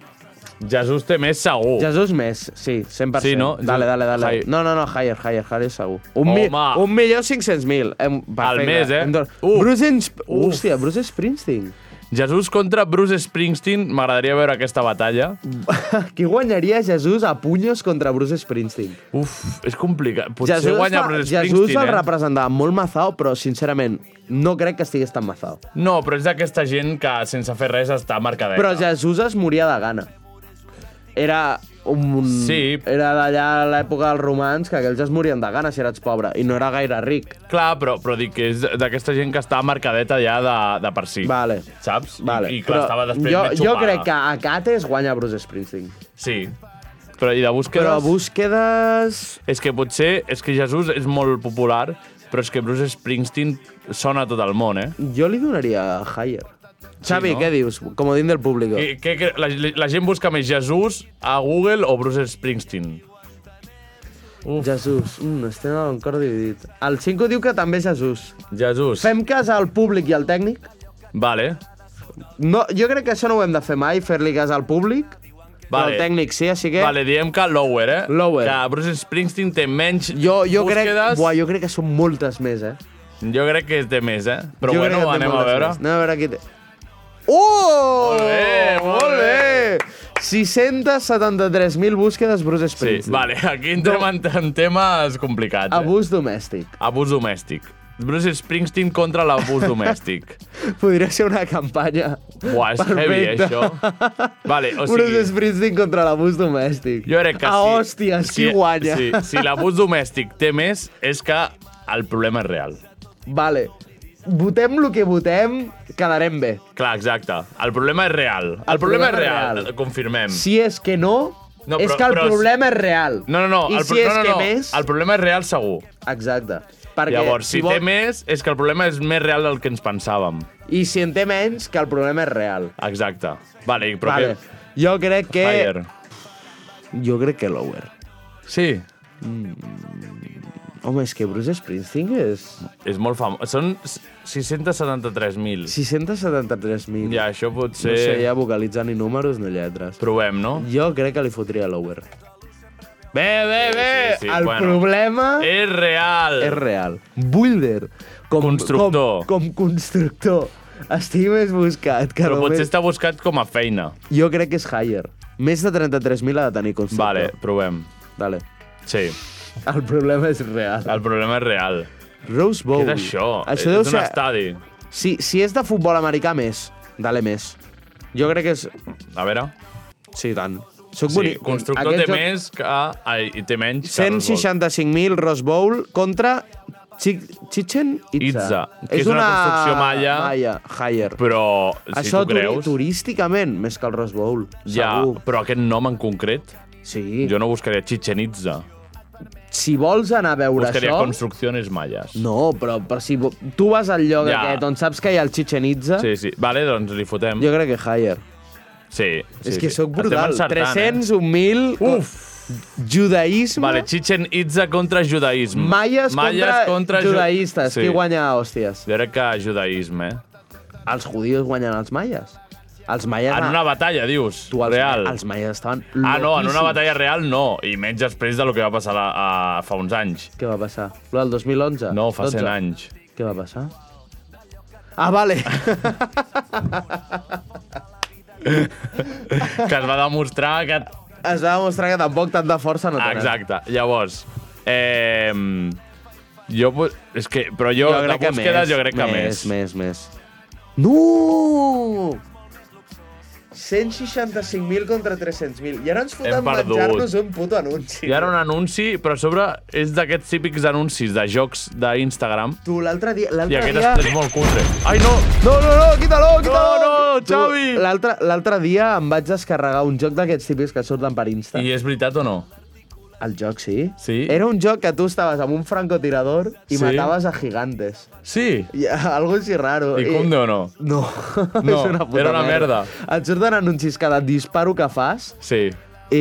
[SPEAKER 3] Jesús té més segur.
[SPEAKER 4] Jesús més, sí, 100%.
[SPEAKER 3] Sí, no?
[SPEAKER 4] Dale, dale, dale.
[SPEAKER 3] Higher.
[SPEAKER 4] No, no, no, higher, higher, higher segur. Un, mi,
[SPEAKER 3] Home.
[SPEAKER 4] un milió 500.000. Hem- perfecte.
[SPEAKER 3] mes, eh?
[SPEAKER 4] Hem don- Bruce, Ins- Hòstia, Bruce Springsteen.
[SPEAKER 3] Jesús contra Bruce Springsteen. M'agradaria veure aquesta batalla.
[SPEAKER 4] Mm. Qui guanyaria Jesús a punyos contra Bruce Springsteen?
[SPEAKER 3] Uf, és complicat. Potser guanya Bruce Springsteen,
[SPEAKER 4] Jesús el
[SPEAKER 3] eh?
[SPEAKER 4] representava molt mazao, però, sincerament, no crec que estigués tan mazao.
[SPEAKER 3] No, però és d'aquesta gent que sense fer res està marcadeta.
[SPEAKER 4] Però Jesús es moria de gana. Era un... Sí. Era d'allà a l'època dels romans que aquells es morien de gana si eres pobre i no era gaire ric.
[SPEAKER 3] Clar, però, però dic que és d'aquesta gent que està marcadeta ja de, de per si. Vale. Saps? Vale. I, i clar,
[SPEAKER 4] Però
[SPEAKER 3] estava després
[SPEAKER 4] jo,
[SPEAKER 3] ben
[SPEAKER 4] jo
[SPEAKER 3] xupada.
[SPEAKER 4] crec que a Cates guanya Bruce Springsteen.
[SPEAKER 3] Sí. Però i de búsquedes...
[SPEAKER 4] Però búsquedes...
[SPEAKER 3] És que potser... És que Jesús és molt popular, però és que Bruce Springsteen sona a tot el món, eh?
[SPEAKER 4] Jo li donaria Higher. Xavi,
[SPEAKER 3] no?
[SPEAKER 4] què dius? Comodín del públic.
[SPEAKER 3] Que, que, que la, la gent busca més Jesús a Google o Bruce Springsteen? Uf.
[SPEAKER 4] Jesús, mm, estem en cor dividit. El 5 diu que també Jesús.
[SPEAKER 3] Jesús.
[SPEAKER 4] Fem cas al públic i al tècnic?
[SPEAKER 3] Vale.
[SPEAKER 4] No, jo crec que això no ho hem de fer mai, fer-li cas al públic.
[SPEAKER 3] Vale.
[SPEAKER 4] Però al tècnic sí, així que...
[SPEAKER 3] Vale, diem que lower, eh?
[SPEAKER 4] Lower.
[SPEAKER 3] Que Bruce Springsteen té menys jo,
[SPEAKER 4] Jo crec,
[SPEAKER 3] búsquedes.
[SPEAKER 4] buah, jo crec que són moltes més, eh?
[SPEAKER 3] Jo crec que té més, eh? Però
[SPEAKER 4] jo
[SPEAKER 3] jo bueno,
[SPEAKER 4] crec que té
[SPEAKER 3] anem a
[SPEAKER 4] moltes
[SPEAKER 3] veure.
[SPEAKER 4] més. Anem a veure qui té... Oh! Molt
[SPEAKER 3] bé,
[SPEAKER 4] molt bé! 673.000 búsquedes Bruce
[SPEAKER 3] Sí,
[SPEAKER 4] Springsteen.
[SPEAKER 3] vale, aquí entrem en, en temes complicats. Eh?
[SPEAKER 4] Abús domèstic.
[SPEAKER 3] Abús domèstic. Bruce Springsteen contra l'abús domèstic.
[SPEAKER 4] Podria ser una campanya.
[SPEAKER 3] Buah, és heavy,
[SPEAKER 4] Perfecte.
[SPEAKER 3] això. Vale, o sigui,
[SPEAKER 4] Bruce Springsteen contra l'abús domèstic.
[SPEAKER 3] jo crec que
[SPEAKER 4] A
[SPEAKER 3] sí.
[SPEAKER 4] hòsties, qui guanya?
[SPEAKER 3] Si, si l'abús domèstic té més, és que el problema és real.
[SPEAKER 4] Vale. Votem el que votem, quedarem bé.
[SPEAKER 3] Clar, exacte. El problema és real. El,
[SPEAKER 4] El
[SPEAKER 3] problema,
[SPEAKER 4] problema
[SPEAKER 3] és real.
[SPEAKER 4] és real.
[SPEAKER 3] Confirmem.
[SPEAKER 4] Si és que no,
[SPEAKER 3] No,
[SPEAKER 4] no però, és
[SPEAKER 3] però-
[SPEAKER 4] que el
[SPEAKER 3] però-
[SPEAKER 4] problema és real.
[SPEAKER 3] No, no, no.
[SPEAKER 4] I
[SPEAKER 3] el,
[SPEAKER 4] si
[SPEAKER 3] pro-
[SPEAKER 4] és
[SPEAKER 3] no, no,
[SPEAKER 4] que
[SPEAKER 3] no.
[SPEAKER 4] més...
[SPEAKER 3] El problema és real segur.
[SPEAKER 4] Exacte.
[SPEAKER 3] Perquè Llavors, si,
[SPEAKER 4] si vol-
[SPEAKER 3] té més, és que el problema és més real del que ens pensàvem.
[SPEAKER 4] I si en té menys, que el problema és real.
[SPEAKER 3] Exacte. Vale, i- però
[SPEAKER 4] vale.
[SPEAKER 3] que...
[SPEAKER 4] Jo crec que...
[SPEAKER 3] Higher.
[SPEAKER 4] Jo crec que lower.
[SPEAKER 3] Sí.
[SPEAKER 4] Home, és que Bruce Springsteen és...
[SPEAKER 3] És molt famós. Són 673.000.
[SPEAKER 4] 673.000.
[SPEAKER 3] Ja, això pot ser...
[SPEAKER 4] No sé, ja vocalitzant ni números ni lletres.
[SPEAKER 3] Provem, no?
[SPEAKER 4] Jo crec que li fotria lower.
[SPEAKER 3] Bé, bé, bé!
[SPEAKER 4] sí, el problema-
[SPEAKER 3] És real.
[SPEAKER 4] És real. Builder. Com,
[SPEAKER 3] Constructor.
[SPEAKER 4] Com, com constructor. Estigui més buscat que
[SPEAKER 3] Però potser
[SPEAKER 4] només...
[SPEAKER 3] està buscat com a feina.
[SPEAKER 4] Jo crec que és higher. Més de 33.000 ha de tenir constructor.
[SPEAKER 3] Vale, provem.
[SPEAKER 4] Dale.
[SPEAKER 3] Sí,
[SPEAKER 4] El problema és real.
[SPEAKER 3] el problema és real.
[SPEAKER 4] Rose Bowl.
[SPEAKER 3] Què és això? Eh,
[SPEAKER 4] Això
[SPEAKER 3] és
[SPEAKER 4] deu
[SPEAKER 3] un
[SPEAKER 4] ser...
[SPEAKER 3] estadi.
[SPEAKER 4] Si, si és de futbol americà, més. Dale, més. Jo crec que és...
[SPEAKER 3] A veure.
[SPEAKER 4] Sí, i tant. Soc
[SPEAKER 3] Sí,
[SPEAKER 4] bonic.
[SPEAKER 3] constructor
[SPEAKER 4] Aquest
[SPEAKER 3] té
[SPEAKER 4] joc-
[SPEAKER 3] més que... Ai, i té menys que Rose Bowl.
[SPEAKER 4] 165.000 Rose Bowl contra Chi- Chichen Itza.
[SPEAKER 3] Itza, que és una construcció maia.
[SPEAKER 4] maia higher.
[SPEAKER 3] Però, si
[SPEAKER 4] Això
[SPEAKER 3] tu creus...
[SPEAKER 4] turísticament, més que el Rose Bowl.
[SPEAKER 3] Ja,
[SPEAKER 4] Segur.
[SPEAKER 3] però aquest nom en concret...
[SPEAKER 4] Sí.
[SPEAKER 3] Jo no buscaria Chichen Itza.
[SPEAKER 4] Si vols anar a veure
[SPEAKER 3] Buscaria
[SPEAKER 4] això...
[SPEAKER 3] construcciones mayas.
[SPEAKER 4] No, però, però si vo- tu vas al lloc
[SPEAKER 3] Ja.
[SPEAKER 4] ja. aquest on saps que hi ha el Chichen Itza,
[SPEAKER 3] Sí, sí. Vale, doncs li fotem.
[SPEAKER 4] jo crec que higher.
[SPEAKER 3] Sí, sí.
[SPEAKER 4] és que
[SPEAKER 3] sí.
[SPEAKER 4] sóc brutal.
[SPEAKER 3] Estem encertant,
[SPEAKER 4] 301.000... Eh? Uf!
[SPEAKER 3] Eh?
[SPEAKER 4] Judaïsme...
[SPEAKER 3] Vale, Chichen Itza contra judaïsme.
[SPEAKER 4] Maies, contra,
[SPEAKER 3] ju-
[SPEAKER 4] judaïstes. Sí. Qui guanya a hòsties?
[SPEAKER 3] Jo crec que judaïsme, eh?
[SPEAKER 4] Els judíos guanyen els maies. Els maies...
[SPEAKER 3] En una batalla, dius,
[SPEAKER 4] Tu, els,
[SPEAKER 3] real.
[SPEAKER 4] els maies estaven
[SPEAKER 3] ah, no, en una
[SPEAKER 4] loquíssims.
[SPEAKER 3] batalla real no, i menys després de lo que va passar la, a, fa uns anys.
[SPEAKER 4] Què va passar? Lo del 2011?
[SPEAKER 3] No, fa 100
[SPEAKER 4] 12.
[SPEAKER 3] anys.
[SPEAKER 4] Què va passar? Ah, vale.
[SPEAKER 3] que es va demostrar que...
[SPEAKER 4] es va demostrar que tampoc tanta força no tenen.
[SPEAKER 3] Exacte. Llavors, eh, jo... pu- És que, però jo, de búsquedes, jo crec que més.
[SPEAKER 4] Més, més, No! 165.000 contra 300.000. I ara ens foten
[SPEAKER 3] Hem perdut.
[SPEAKER 4] menjar-nos un puto anunci.
[SPEAKER 3] Hi ha un anunci, però a sobre és d'aquests típics anuncis de jocs d'Instagram.
[SPEAKER 4] Tu, l'altre dia...
[SPEAKER 3] I
[SPEAKER 4] L'altre
[SPEAKER 3] aquest
[SPEAKER 4] dia...
[SPEAKER 3] és, és molt cutre. Ai, no!
[SPEAKER 4] No, no, no, quita-lo, quita-lo!
[SPEAKER 3] no,
[SPEAKER 4] Tu,
[SPEAKER 3] Xavi!
[SPEAKER 4] l'altre- L'altre dia em vaig descarregar un joc d'aquests típics que surten per Insta.
[SPEAKER 3] I és veritat o no?
[SPEAKER 4] El joc, sí?
[SPEAKER 3] Sí.
[SPEAKER 4] Era un joc que tu estaves amb un francotirador i
[SPEAKER 3] Sí.
[SPEAKER 4] mataves a gigantes.
[SPEAKER 3] Sí.
[SPEAKER 4] I, algo així raro. eh,
[SPEAKER 3] I cum de o no?
[SPEAKER 4] No,
[SPEAKER 3] No,
[SPEAKER 4] és una puta
[SPEAKER 3] era una merda.
[SPEAKER 4] Et surten anuncis cada disparo que fas eh,
[SPEAKER 3] Sí.
[SPEAKER 4] I,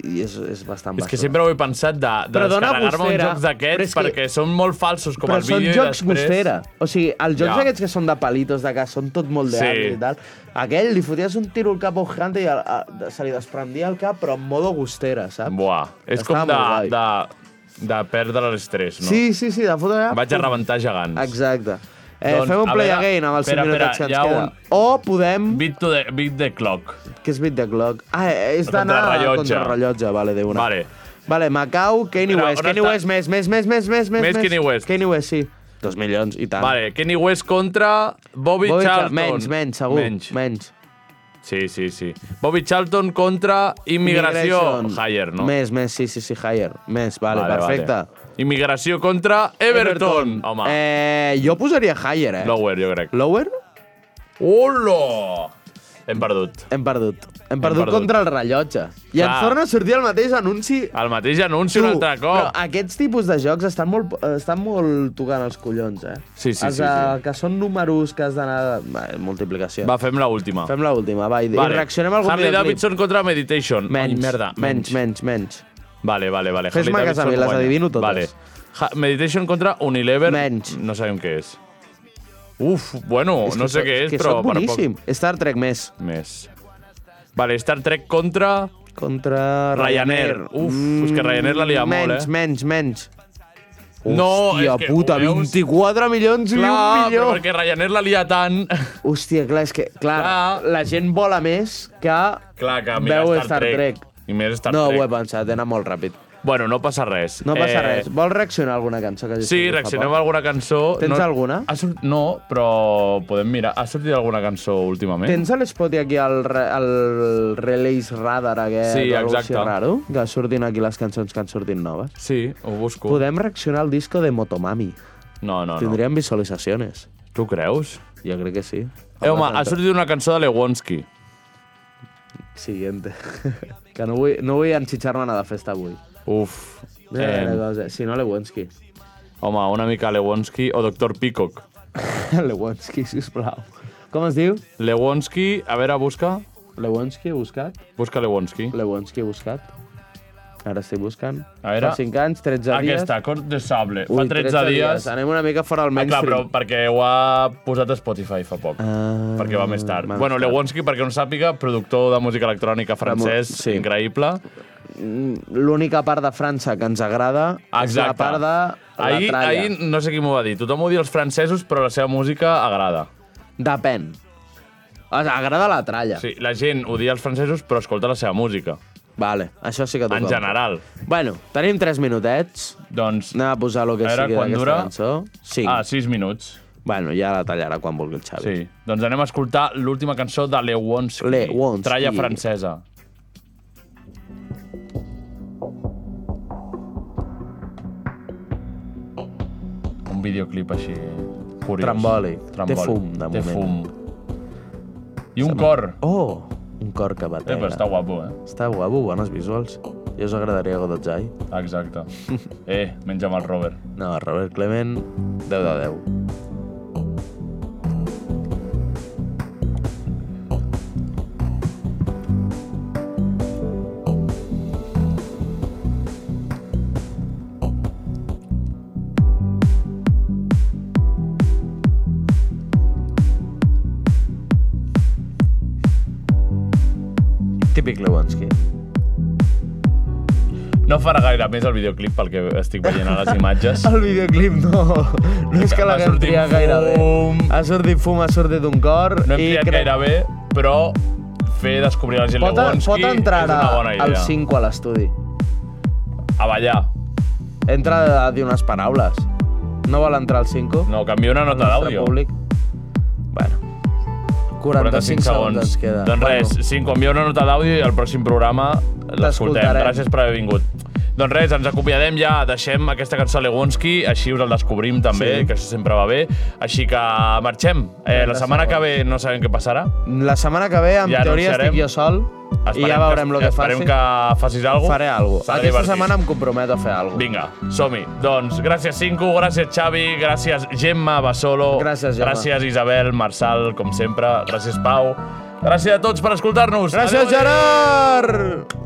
[SPEAKER 4] i és, és bastant
[SPEAKER 3] És que
[SPEAKER 4] bastant.
[SPEAKER 3] sempre ho he pensat de, de
[SPEAKER 4] Però dona
[SPEAKER 3] descarregar-me uns
[SPEAKER 4] gustera.
[SPEAKER 3] jocs
[SPEAKER 4] Però
[SPEAKER 3] d'aquests
[SPEAKER 4] és que-
[SPEAKER 3] perquè són molt falsos com
[SPEAKER 4] Però
[SPEAKER 3] el
[SPEAKER 4] són
[SPEAKER 3] vídeo
[SPEAKER 4] jocs
[SPEAKER 3] i després...
[SPEAKER 4] gustera. O sigui, els jocs
[SPEAKER 3] Ja.
[SPEAKER 4] ja. aquests que són de palitos, de que són tot molt de
[SPEAKER 3] Sí.
[SPEAKER 4] sí. i tal, aquell li foties un tiro al cap a un gigante i a, a, se li desprendia el cap, però en modo gustera, saps?
[SPEAKER 3] Buah, és
[SPEAKER 4] Estava
[SPEAKER 3] com de,
[SPEAKER 4] molt guai.
[SPEAKER 3] de, de perdre l'estrès, no?
[SPEAKER 4] Sí, sí, sí, de fotre... allà,
[SPEAKER 3] Vaig a
[SPEAKER 4] pum.
[SPEAKER 3] rebentar gegants.
[SPEAKER 4] Exacte. Eh,
[SPEAKER 3] Doncs,
[SPEAKER 4] doncs, fem un
[SPEAKER 3] a
[SPEAKER 4] play
[SPEAKER 3] veure,
[SPEAKER 4] again amb els
[SPEAKER 3] espera,
[SPEAKER 4] 5 minutets que
[SPEAKER 3] espera,
[SPEAKER 4] ens
[SPEAKER 3] hi ha
[SPEAKER 4] queda.
[SPEAKER 3] un-
[SPEAKER 4] Un... O podem...
[SPEAKER 3] Beat, to the, beat the clock.
[SPEAKER 4] Que és bit de clock. Ah, eh, és d'anar
[SPEAKER 3] contrarellotge.
[SPEAKER 4] contra el rellotge, vale, de una.
[SPEAKER 3] Vale.
[SPEAKER 4] Vale, Macau, Kanye
[SPEAKER 3] Però
[SPEAKER 4] West.
[SPEAKER 3] on
[SPEAKER 4] Kanye
[SPEAKER 3] està?
[SPEAKER 4] West, més, més, més, més, més, més.
[SPEAKER 3] Més Kanye West.
[SPEAKER 4] Kanye West, sí. Dos milions, i tant.
[SPEAKER 3] Vale, Kenny West contra Bobby,
[SPEAKER 4] Bobby Charlton.
[SPEAKER 3] Charlton.
[SPEAKER 4] Menys, menys, segur.
[SPEAKER 3] Menys.
[SPEAKER 4] menys.
[SPEAKER 3] Sí, sí, sí. Bobby Charlton contra Immigració.
[SPEAKER 4] Immigration.
[SPEAKER 3] Higher, no?
[SPEAKER 4] Més, més, sí, sí, sí, higher. Més, vale,
[SPEAKER 3] Vale,
[SPEAKER 4] vale perfecte.
[SPEAKER 3] vale. Immigració contra Everton. Home, eh...
[SPEAKER 4] Eh, jo posaria higher, eh?
[SPEAKER 3] lower, jo crec.
[SPEAKER 4] Lower?
[SPEAKER 3] Hola! Hem perdut.
[SPEAKER 4] Hem perdut. Hem perdut,
[SPEAKER 3] perdut.
[SPEAKER 4] contra el rellotge. I ens
[SPEAKER 3] Clar.
[SPEAKER 4] torna a sortir el mateix anunci
[SPEAKER 3] El mateix anunci un
[SPEAKER 4] Tu,
[SPEAKER 3] altre
[SPEAKER 4] Però ah,
[SPEAKER 3] cop.
[SPEAKER 4] aquests tipus de jocs estan molt, eh, estan molt tocant els collons, eh?
[SPEAKER 3] Sí, sí,
[SPEAKER 4] els,
[SPEAKER 3] sí,
[SPEAKER 4] eh, Que són números que has d'anar... Va, Multiplicació.
[SPEAKER 3] Va, fem l'última.
[SPEAKER 4] Fem l'última, va, i, i reaccionem a algun
[SPEAKER 3] Harley
[SPEAKER 4] videoclip.
[SPEAKER 3] Davidson contra Meditation.
[SPEAKER 4] Menys,
[SPEAKER 3] Ai, merda.
[SPEAKER 4] menys, menys, menys.
[SPEAKER 3] Vale, vale, vale.
[SPEAKER 4] Fes-me
[SPEAKER 3] Harley
[SPEAKER 4] cas a mi,
[SPEAKER 3] Davidson
[SPEAKER 4] les
[SPEAKER 3] guanya.
[SPEAKER 4] adivino totes.
[SPEAKER 3] Vale. Ha Meditation contra Unilever.
[SPEAKER 4] Menys.
[SPEAKER 3] No sabem què és. Uf, bueno, no sé
[SPEAKER 4] que,
[SPEAKER 3] què és,
[SPEAKER 4] que
[SPEAKER 3] però
[SPEAKER 4] sóc boníssim. Star Trek més.
[SPEAKER 3] per poc més. Vale, Star Trek contra...
[SPEAKER 4] Contra
[SPEAKER 3] Ryanair.
[SPEAKER 4] Ryanair. Mm,
[SPEAKER 3] Uf, és que Ryanair la lia molt,
[SPEAKER 4] menys,
[SPEAKER 3] eh?
[SPEAKER 4] Menys, menys, menys.
[SPEAKER 3] No,
[SPEAKER 4] Hòstia
[SPEAKER 3] és que,
[SPEAKER 4] puta,
[SPEAKER 3] ho veus?
[SPEAKER 4] 24 milions i un
[SPEAKER 3] Clar, però
[SPEAKER 4] milió.
[SPEAKER 3] perquè Ryanair la lia tant...
[SPEAKER 4] Hòstia, clar, és que clar,
[SPEAKER 3] Clar.
[SPEAKER 4] la gent vola més que...
[SPEAKER 3] Clar, que mira
[SPEAKER 4] Veu
[SPEAKER 3] Star,
[SPEAKER 4] Star Trek.
[SPEAKER 3] I més Star
[SPEAKER 4] no,
[SPEAKER 3] Trek.
[SPEAKER 4] ho he pensat, he anat molt ràpid.
[SPEAKER 3] Bueno, no passa res.
[SPEAKER 4] No passa eh... res. Vols reaccionar a alguna cançó? Que
[SPEAKER 3] Sí,
[SPEAKER 4] hagi sortit fa
[SPEAKER 3] reaccionem
[SPEAKER 4] poc?
[SPEAKER 3] a alguna cançó.
[SPEAKER 4] Tens
[SPEAKER 3] no,
[SPEAKER 4] alguna?
[SPEAKER 3] Ha sort... No, però podem mirar. Ha sortit alguna cançó últimament?
[SPEAKER 4] Tens a l'Spot aquí el, re- el Release Radar aquest,
[SPEAKER 3] Sí,
[SPEAKER 4] o alguna cosa així
[SPEAKER 3] exacte.
[SPEAKER 4] raro, que surtin aquí les cançons que han sortit noves.
[SPEAKER 3] Sí, ho busco.
[SPEAKER 4] Podem reaccionar al disco de Motomami.
[SPEAKER 3] No, no,
[SPEAKER 4] No,
[SPEAKER 3] no.
[SPEAKER 4] Tindríem visualitzacions.
[SPEAKER 3] Tu creus?
[SPEAKER 4] Jo crec que sí.
[SPEAKER 3] Eh, home, ha
[SPEAKER 4] Altres-
[SPEAKER 3] sortit una cançó de Lewonsky.
[SPEAKER 4] Siguiente. que no vull, no vull enxitxar-me a la festa avui.
[SPEAKER 3] Uf.
[SPEAKER 4] Eh,
[SPEAKER 3] Eh,
[SPEAKER 4] eh. Si no, Lewonsky.
[SPEAKER 3] home, una mica Lewonsky o Doctor Peacock.
[SPEAKER 4] Lewonsky, sisplau. Com es diu?
[SPEAKER 3] Lewonsky, a veure, busca.
[SPEAKER 4] Lewonsky, buscat?
[SPEAKER 3] Busca Lewonsky.
[SPEAKER 4] Lewonsky, buscat? Ara estic buscant.
[SPEAKER 3] A veure.
[SPEAKER 4] Fa 5 anys, 13 dies.
[SPEAKER 3] Aquesta, Cort de Sable. Fa 13, dies.
[SPEAKER 4] Anem una mica fora del
[SPEAKER 3] Ah, clar,
[SPEAKER 4] mainstream.
[SPEAKER 3] però perquè ho ha posat a Spotify fa poc.
[SPEAKER 4] Ah,
[SPEAKER 3] perquè va més tard.
[SPEAKER 4] va més
[SPEAKER 3] Bueno,
[SPEAKER 4] tard.
[SPEAKER 3] Lewonsky, perquè no sàpiga, productor de música electrònica francès,
[SPEAKER 4] sí.
[SPEAKER 3] increïble.
[SPEAKER 4] L'única part de França que ens agrada és la
[SPEAKER 3] Exacte.
[SPEAKER 4] part de la
[SPEAKER 3] ahir,
[SPEAKER 4] tralla.
[SPEAKER 3] ahir no sé qui m'ho va dir. Tothom odia els francesos, però la seva música agrada.
[SPEAKER 4] Depèn. O sigui, agrada la tralla.
[SPEAKER 3] Sí, la gent odia els francesos, però escolta la seva música.
[SPEAKER 4] Vale, això sí que t'ho
[SPEAKER 3] En
[SPEAKER 4] compro.
[SPEAKER 3] general.
[SPEAKER 4] Bueno, tenim 3 minutets.
[SPEAKER 3] Doncs...
[SPEAKER 4] Anem a posar el que
[SPEAKER 3] A veure
[SPEAKER 4] sigui
[SPEAKER 3] quan
[SPEAKER 4] d'aquesta
[SPEAKER 3] dura.
[SPEAKER 4] cançó. 5.
[SPEAKER 3] Ah, 6 minuts.
[SPEAKER 4] Bueno, ja la tallarà quan vulgui el Xavi.
[SPEAKER 3] Sí. Doncs anem a escoltar l'última cançó de Lewonsky.
[SPEAKER 4] Lewonsky.
[SPEAKER 3] Tralla francesa. Un videoclip així... Curiós.
[SPEAKER 4] Trambòlic.
[SPEAKER 3] Trambòlic.
[SPEAKER 4] Té fum, de
[SPEAKER 3] Té
[SPEAKER 4] moment.
[SPEAKER 3] fum. I un cor.
[SPEAKER 4] Oh, un cor que
[SPEAKER 3] Eh,
[SPEAKER 4] batega.
[SPEAKER 3] però està guapo, eh?
[SPEAKER 4] Està guapo, bones visuals. Ja us agradaria Godotzai?
[SPEAKER 3] Ah, Exacte. Eh, menja amb el Robert.
[SPEAKER 4] No, Robert Clement, 10 de 10. Típic Lewandowski.
[SPEAKER 3] No farà gaire més el videoclip pel que estic veient a les imatges.
[SPEAKER 4] El videoclip no, no és que
[SPEAKER 3] Va
[SPEAKER 4] l'haguem
[SPEAKER 3] sortir
[SPEAKER 4] triat gaire bé.
[SPEAKER 3] fum.
[SPEAKER 4] Ha sortit fum, ha sortit un cor.
[SPEAKER 3] No hem
[SPEAKER 4] i
[SPEAKER 3] triat
[SPEAKER 4] crec-
[SPEAKER 3] gaire bé, però fer descobrir la gent
[SPEAKER 4] Pot,
[SPEAKER 3] Lewonsky
[SPEAKER 4] pot entrar
[SPEAKER 3] és una bona idea.
[SPEAKER 4] al 5 a l'estudi.
[SPEAKER 3] A ballar.
[SPEAKER 4] Entra a dir unes paraules. No vol entrar al 5?
[SPEAKER 3] No, canvia una nota d'àudio.
[SPEAKER 4] Públic. Bueno. 45,
[SPEAKER 3] 45 segons.
[SPEAKER 4] ens queda.
[SPEAKER 3] Doncs res, si en canvia una nota d'àudio i al pròxim programa l'escoltem.
[SPEAKER 4] T'escoltarem.
[SPEAKER 3] Gràcies per haver vingut. Doncs res, ens acomiadem ja, deixem aquesta cançó a Lewonsky, així us el descobrim també,
[SPEAKER 4] Sí.
[SPEAKER 3] que això sempre va bé. Així que marxem. Eh, la setmana que ve no sabem què passarà.
[SPEAKER 4] Bueno, la setmana que ve, en
[SPEAKER 3] Ja
[SPEAKER 4] ja teoria,
[SPEAKER 3] anunciarem.
[SPEAKER 4] estic jo sol i ja veurem el que faci.
[SPEAKER 3] esperem que facis alguna
[SPEAKER 4] Faré alguna cosa. Aquesta setmana em comprometo a fer alguna cosa.
[SPEAKER 3] Vinga, som-hi. Doncs gràcies, Cinco, gràcies, Xavi, gràcies, Gemma Basolo.
[SPEAKER 4] Gràcies, Gemma.
[SPEAKER 3] Gràcies, Isabel, Marçal, com sempre. Gràcies, Pau. Gràcies a tots per escoltar-nos. Adéu,
[SPEAKER 4] Gràcies,
[SPEAKER 3] adéu.
[SPEAKER 4] Gerard!